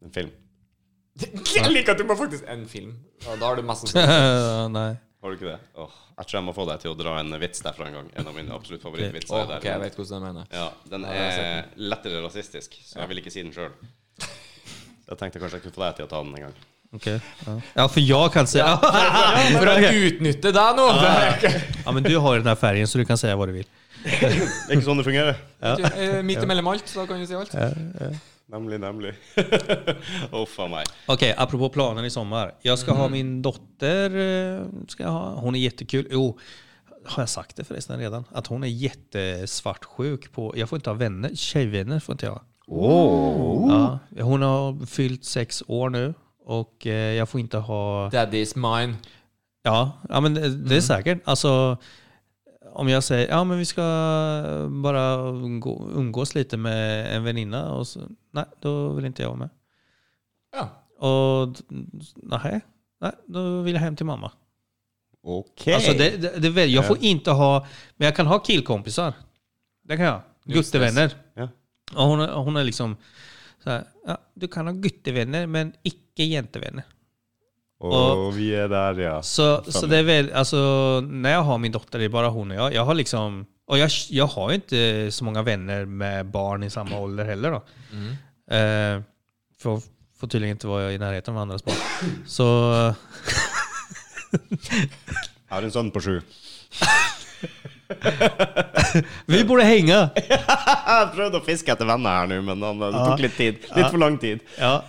[SPEAKER 3] En film.
[SPEAKER 2] Jeg liker at du må faktisk en film. Ja, da har du mest sannsynlig
[SPEAKER 4] Nej.
[SPEAKER 3] Har du ikke det? Åh, jeg tror jeg må få deg til å dra en vits derfra en gang. En av mine absolutt
[SPEAKER 2] Å,
[SPEAKER 3] favorittvitser. er der.
[SPEAKER 2] Ok, jeg vet hvordan du mener.
[SPEAKER 3] Ja, den er lettere rasistisk, så jeg vil ikke si den (laughs) sjøl. Jeg tenkte kanskje jeg kunne få deg til å ta den en gang.
[SPEAKER 4] Okej. Ja. ja, för jag kan (laughs) säga...
[SPEAKER 2] For å utnytte deg nå!
[SPEAKER 4] Ja, men du har ju den här färgen så du kan säga vad du vill.
[SPEAKER 3] Det er ikke sånn det fungerer.
[SPEAKER 2] (laughs) Eh, Midt imellom alt, så da kan du si alt.
[SPEAKER 3] Nemlig, (laughs) nemlig. Uff a meg.
[SPEAKER 4] Okej, apropå planen i sommar. Jag ska ha min dotter. eh, Ska jag ha. Hon är jättekul. Jo, har jag sagt det förresten redan? Att hon är jättesvartsjuk på... Jag får inte ha vänner. Tjejvänner får inte jag ha. Ja, hon har fyllt sex år nu och eh, jag får inte ha...
[SPEAKER 2] Daddy's mine.
[SPEAKER 4] Ja, ja men det, det är säkert. Alltså, om jag säger ja men vi ska bara gå, umgås lite med en väninna och så, nej, då vill inte jag vara med.
[SPEAKER 2] Ja.
[SPEAKER 4] Och d- nej, nej, då vill jag hem till mamma.
[SPEAKER 3] OK.
[SPEAKER 4] Alltså det, det, det, är väl- jag får inte ha, men jeg kan ha killkompisar. Det kan jag.
[SPEAKER 2] Just det.
[SPEAKER 4] Guttevänner.
[SPEAKER 3] Ja.
[SPEAKER 4] Och hon, är- hon är liksom så här, ja, du kan ha guttevänner men icke jentevänner.
[SPEAKER 3] Og vi er der, ja.
[SPEAKER 4] Så, så det är väl, alltså när jag har min dotter, det är bara hon och jag. Jag har liksom, och jag, jag har ju inte så många vänner med barn i samma ålder heller då.
[SPEAKER 2] Mm.
[SPEAKER 4] Eh, för får tydligen inte vara i närheten av
[SPEAKER 2] (laughs)
[SPEAKER 4] andras barn. Så eh,
[SPEAKER 3] Jeg har en sønn på sju.
[SPEAKER 4] vi borde hänga.
[SPEAKER 3] Jeg prøvde å fiske etter venner her nå, men han, det tok litt tid. Litt for lang tid.
[SPEAKER 4] Ja.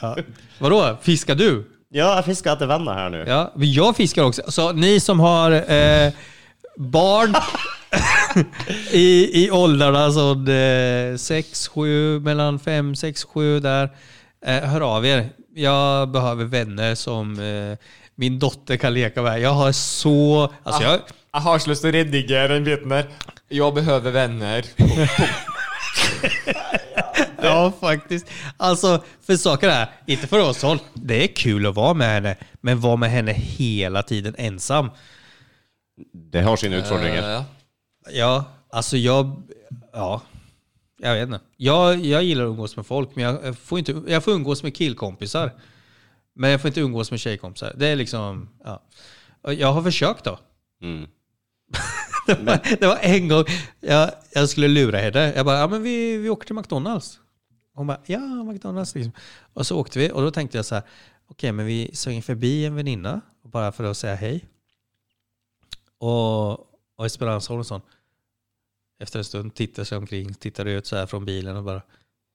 [SPEAKER 4] ja. Vadå, fiskar du?
[SPEAKER 3] Ja, jag fiskar etter venner her nå.
[SPEAKER 4] Ja, men jag fiskar också. Så ni som har eh, barn (laughs) i, i åldrarna så, eh, 6, 7, mellan 5, 6, 7 där. Eh, hör av er. Jag behöver vänner som eh, min dotter kan leka med. Jag har så... Alltså jag,
[SPEAKER 2] Jeg har så lyst til å redigere den biten der. Jeg behøver venner.
[SPEAKER 4] ja, faktiskt. Alltså, för saker är, inte för oss håll. Det är kul att vara med henne, men vara med henne hela tiden ensam.
[SPEAKER 3] Det har sine utfordringer.
[SPEAKER 2] Ja, ja.
[SPEAKER 4] Ja, alltså jag... Ja. Jag vet inte. Jag, jag gillar att umgås med folk, men jag får, inte, jag får umgås med killkompisar. Men jag får inte umgås med tjejkompisar. Det är liksom... Ja. Och Jag har försökt då.
[SPEAKER 3] Mm.
[SPEAKER 4] (laughs) Det var en gång jag, jag skulle lura henne. Jag bara, ja men vi, vi åker till McDonalds. Hon bara, ja McDonalds liksom. Och så åkte vi och då tänkte jag så här, okej men vi svänger förbi en väninna bara för att säga hej. Och, och Esperanza Olsson, efter en stund tittar sig omkring, tittar ut så här från bilen och bara,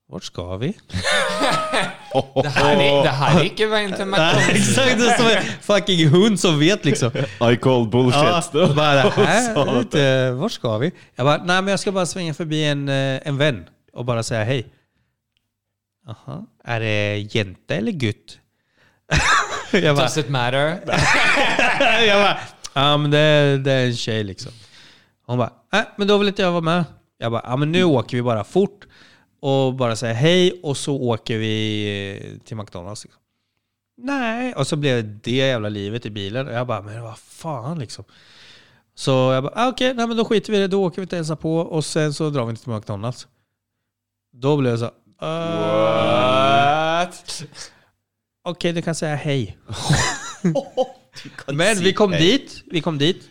[SPEAKER 4] vart ska vi? Eh,
[SPEAKER 2] Det her,
[SPEAKER 3] (laughs)
[SPEAKER 2] er, det her er ikke veien (laughs) til McDonald's.
[SPEAKER 4] (laughs) Exakt, det är som en fucking hund som vet liksom.
[SPEAKER 3] I
[SPEAKER 4] Ja,
[SPEAKER 3] call bullshit.
[SPEAKER 4] och bara,
[SPEAKER 3] Och sa
[SPEAKER 4] äh,
[SPEAKER 3] att-
[SPEAKER 4] lite, vart ska vi? Jag bara, nej men jag ska bara svänga förbi en, eh, en vän och bara säga hej. Jaha, är det jente eller gutt? (laughs) jag bara,
[SPEAKER 2] Does it matter?
[SPEAKER 4] jag bara ja men det, det är en tjej liksom. Hon bara, nej men då vill inte jag vara med. Jag bara, ja men nu åker vi bara fort och bara säger hej och så åker vi eh, till McDonalds. Liksom. Nej, och så blev det jävla livet i bilen. Och jag bara, men vad fan liksom. Så jag bara, ah, okej, nej men då skiter vi i det. Då åker vi till hälsa på och sen så drar vi inte till McDonalds. Då blev jag så, "Äh."
[SPEAKER 3] (laughs)
[SPEAKER 4] här, "Eh, okej du kan säga hej. Men vi kom dit, vi kom dit.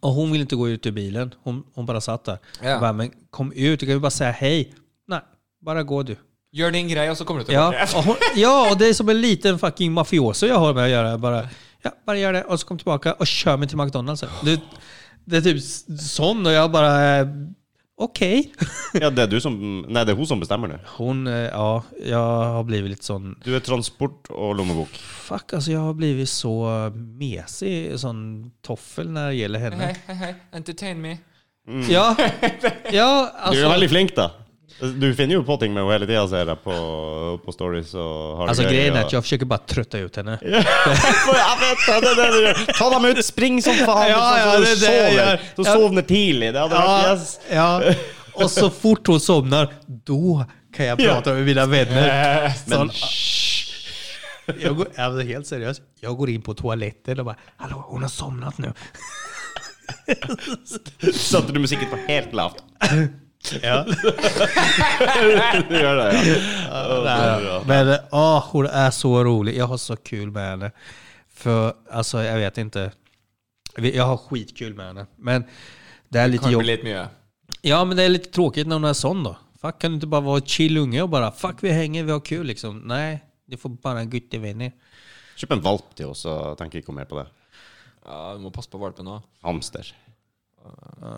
[SPEAKER 4] Och hon ville inte gå ut ur bilen. Hon, hon bara satt där.
[SPEAKER 2] Ja.
[SPEAKER 4] Jag bara, men kom ut, du kan ju bara säga hej. Nej, bara gå du.
[SPEAKER 2] Gör din grej och så kommer du tillbaka.
[SPEAKER 4] Ja, och hon, ja, och det är som en liten fucking mafioso jag har med att göra. Jag Bara, ja, bara gör det och så kom tillbaka och kör mig till McDonalds. Det, det är typ s- sån och jag bara, eh, okej. (laughs)
[SPEAKER 3] Ja, det är du som... Nej, det är hon som bestämmer nu.
[SPEAKER 4] Hon, eh, ja, jag har blivit lite sån,
[SPEAKER 3] Du är transport och lommebok.
[SPEAKER 4] fuck alltså jag har blivit så mesig, sån toffel när det gäller henne.
[SPEAKER 2] Hej, hej, hej. Entertain me.
[SPEAKER 4] Mm. (laughs) Ja, ja
[SPEAKER 3] Du är
[SPEAKER 4] alltså.
[SPEAKER 3] väldigt flink da. Du finner ju på ting med henne hela tiden ser jag på, på stories och har
[SPEAKER 4] Alltså grejen är
[SPEAKER 3] och-
[SPEAKER 4] att jag försöker bara trötta ut henne.
[SPEAKER 3] Jag vet det, det, det, det. Ta dem ut, spring som fan!
[SPEAKER 4] Ja,
[SPEAKER 3] så,
[SPEAKER 4] ja,
[SPEAKER 3] så
[SPEAKER 4] det är
[SPEAKER 3] du
[SPEAKER 4] det jag
[SPEAKER 3] sover.
[SPEAKER 4] gör.
[SPEAKER 3] Så
[SPEAKER 4] Ja.
[SPEAKER 3] sovner tidigt. Det hade varit yes.
[SPEAKER 4] ja. Och så fort hon somnar, då kan jag prata med mina vänner.
[SPEAKER 3] Men
[SPEAKER 4] Så- jag går, alltså helt seriöst, jag går in på toaletten och bara Hallå, hon har somnat nu.
[SPEAKER 3] satte du musiken på helt lavt.
[SPEAKER 4] Ja.
[SPEAKER 3] Du (laughs) gör det ja. Ja, det är bra.
[SPEAKER 4] Men oh, hon är så rolig. Jag har så kul med henne. För alltså, jag vet inte. Vi- Jag har skitkul med henne. Men det är lite
[SPEAKER 2] Kan bli
[SPEAKER 4] jobb...
[SPEAKER 2] lite mye.
[SPEAKER 4] Ja, men det är lite tråkigt när hon är sån då. Fuck, kan du inte bara vara en chill unge och bara fuck vi hänger, vi har kul liksom. Nej, du får bara en guttevänner.
[SPEAKER 3] Köp en valp till oss så tänker vi gå med på det.
[SPEAKER 2] Ja, du må passe på valpen òg.
[SPEAKER 3] Hamster.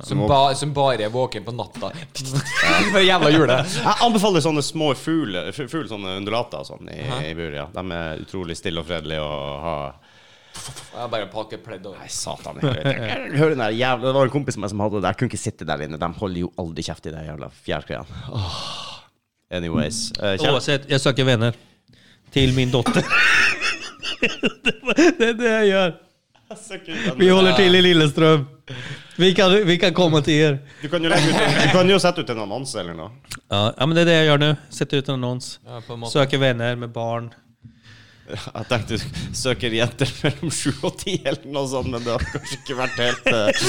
[SPEAKER 2] Som, ba, som bare er våken på natta. (laughs) For jævla jule.
[SPEAKER 3] Jag anbefaller sådana små fuglar, fuglar sådana undulater och sånt i, i bur. Ja. De är otroligt stilla och fredliga och har...
[SPEAKER 2] (laughs) Jeg bare pakker pledd over.
[SPEAKER 3] Nej, satan. i helvete. (laughs) Hör den där jävla... Det var en kompis med som hade det där. Jag kunde inte sitta där inne. De håller ju aldrig käft i den jävla fjärrkrean. Anyways. Eh, kärle-
[SPEAKER 4] Oavsett, jag söker vänner. Till min dotter. (laughs) det är det jag gör. Vi håller till i Lilleström. Vi kan, vi kan komma till er.
[SPEAKER 3] Du kan ju lägga ut en, du kan ju sätta ut en annons eller något.
[SPEAKER 4] Ja, ja, men det är det jag gör nu. Sätter ut en annons.
[SPEAKER 2] Ja, på en måte.
[SPEAKER 4] Söker vänner med barn.
[SPEAKER 3] Jag tänkte söker jenter mellan 7 och 10 eller något sånt, men det har kanske inte varit helt... eh,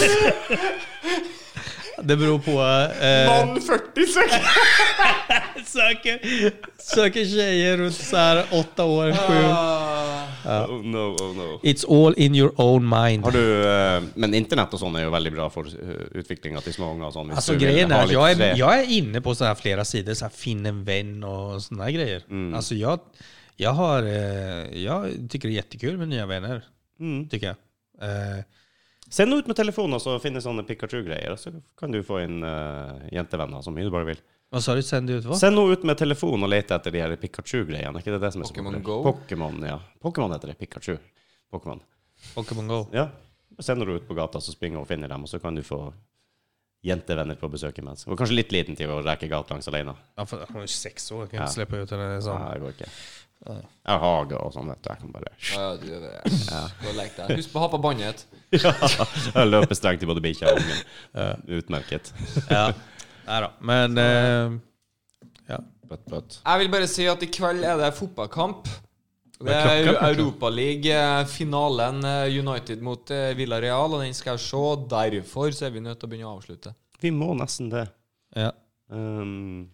[SPEAKER 4] Det beror på... Eh,
[SPEAKER 3] 40 söker!
[SPEAKER 4] (laughs) söker, söker tjejer runt så här åtta år, sju.
[SPEAKER 3] Oh no, oh no.
[SPEAKER 4] It's all in your own mind.
[SPEAKER 3] Har du, eh, men internet och sånt är ju väldigt bra för eh, utvecklingen till små unga och sånt. hvis
[SPEAKER 4] Alltså
[SPEAKER 3] du vill
[SPEAKER 4] grejen
[SPEAKER 3] ha
[SPEAKER 4] är att
[SPEAKER 3] lite
[SPEAKER 4] jag
[SPEAKER 3] fred.
[SPEAKER 4] är, jag är inne på så här flera sidor, så här finn en vän och såna här grejer.
[SPEAKER 3] Mm.
[SPEAKER 4] Alltså jag, jag, har, eh, jag tycker det är jättekul med nya vänner,
[SPEAKER 3] Mm.
[SPEAKER 4] tycker jag. Eh,
[SPEAKER 3] Sänd ut med telefonen och så finns sådana Pikachu-grejer, och så kan du få in uh, jentevänner så mycket du bara vill.
[SPEAKER 4] Vad sa du, sände ut vad?
[SPEAKER 3] Sänd nog ut med telefon och leta efter de här Pikachu-grejerna, är inte det det som är så
[SPEAKER 2] Pokémon
[SPEAKER 3] populärt?
[SPEAKER 2] Go?
[SPEAKER 3] Pokémon, ja. Pokémon heter det, Pikachu. Pokémon.
[SPEAKER 4] Pokémon Go.
[SPEAKER 3] Ja. Sen når du ut på gata, så springer og finner dem, og så kan du få jentevenner på besøk imens. Og kanskje litt liten tid å reke gatelangs alene.
[SPEAKER 4] Ja, för hon är ju sex år, jag kan
[SPEAKER 3] Ja.
[SPEAKER 4] inte släppa ut henne.
[SPEAKER 3] Ja,
[SPEAKER 4] Liksom.
[SPEAKER 3] det går ikke. Jeg har hage og sånn, vet du. Jeg kan bare
[SPEAKER 2] Ja, du er det. Du har lekt deg. Husk på å ha på båndet.
[SPEAKER 3] Jeg løper strengt til både bikkja og ungen. Utmerket.
[SPEAKER 4] Ja. Nej då. Men eh, ja.
[SPEAKER 3] Bøtt, bøtt.
[SPEAKER 2] Jeg vil bare si at i kveld er det fotballkamp. Det
[SPEAKER 4] klokka,
[SPEAKER 2] er
[SPEAKER 4] klokka?
[SPEAKER 2] Europaliga-finalen United mot eh, Villarreal, og den skal jeg se. Derfor så er vi nødt til å begynne å avslutte.
[SPEAKER 3] Vi må nesten det.
[SPEAKER 4] ja.
[SPEAKER 3] Um,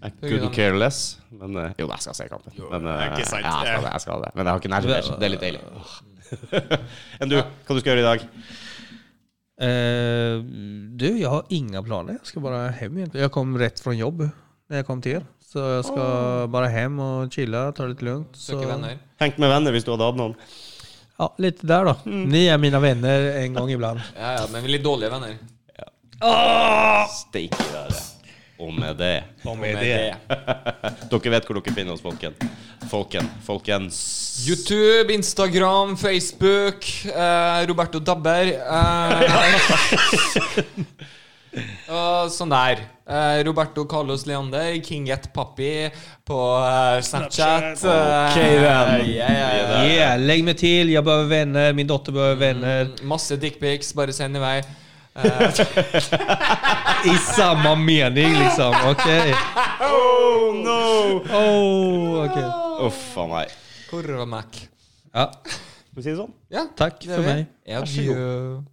[SPEAKER 3] I couldn't care less. Men eh, Jo, jeg skal se kampen. Men, eh, ja, jeg, skal det, jeg skal det. Men jeg har ikke nerver. Det er litt deilig. (laughs) Enn du, hva du skal gjøre i dag?
[SPEAKER 4] Eh, du, jag har inga planer. Jag ska bara hem egentligen. Jag kom rätt från jobb när jag kom till er. Så jag ska bara hem och chilla, ta det lite lugnt. Så,
[SPEAKER 2] Søke venner.
[SPEAKER 3] Hengt med venner hvis du hadde hatt noen.
[SPEAKER 4] Ja, lite där då. Ni är mina vänner en gång ibland.
[SPEAKER 2] Ja, ja, men vi er litt dårlige venner.
[SPEAKER 3] Steik i været. Og med det
[SPEAKER 4] Och
[SPEAKER 2] Med det.
[SPEAKER 3] Dere vet hvor dere finner oss, folken. Folken, folkens.
[SPEAKER 2] YouTube, Instagram, Facebook, eh, Roberto Dabber eh, og Sånn der. Eh, Roberto Carlos Leander, King Get Papi på eh, Snapchat.
[SPEAKER 3] Ok, den.
[SPEAKER 2] Eh, ja, ja, ja.
[SPEAKER 4] Yeah, lägg mig till. Jag behöver vänner. Min dotter behöver
[SPEAKER 3] Mm.
[SPEAKER 4] vänner.
[SPEAKER 2] Masse dickpics, bare send i vei. Eh,
[SPEAKER 4] I samma mening liksom. Okej.
[SPEAKER 3] (laughs) Oh no!
[SPEAKER 4] Åh, okej.
[SPEAKER 3] Uff a meg.
[SPEAKER 2] Korvmack.
[SPEAKER 4] Ja,
[SPEAKER 3] Ska vi si det sånn?
[SPEAKER 2] Ja,
[SPEAKER 4] tack
[SPEAKER 2] det är
[SPEAKER 4] för
[SPEAKER 2] vi.
[SPEAKER 4] mig.
[SPEAKER 2] Adjö.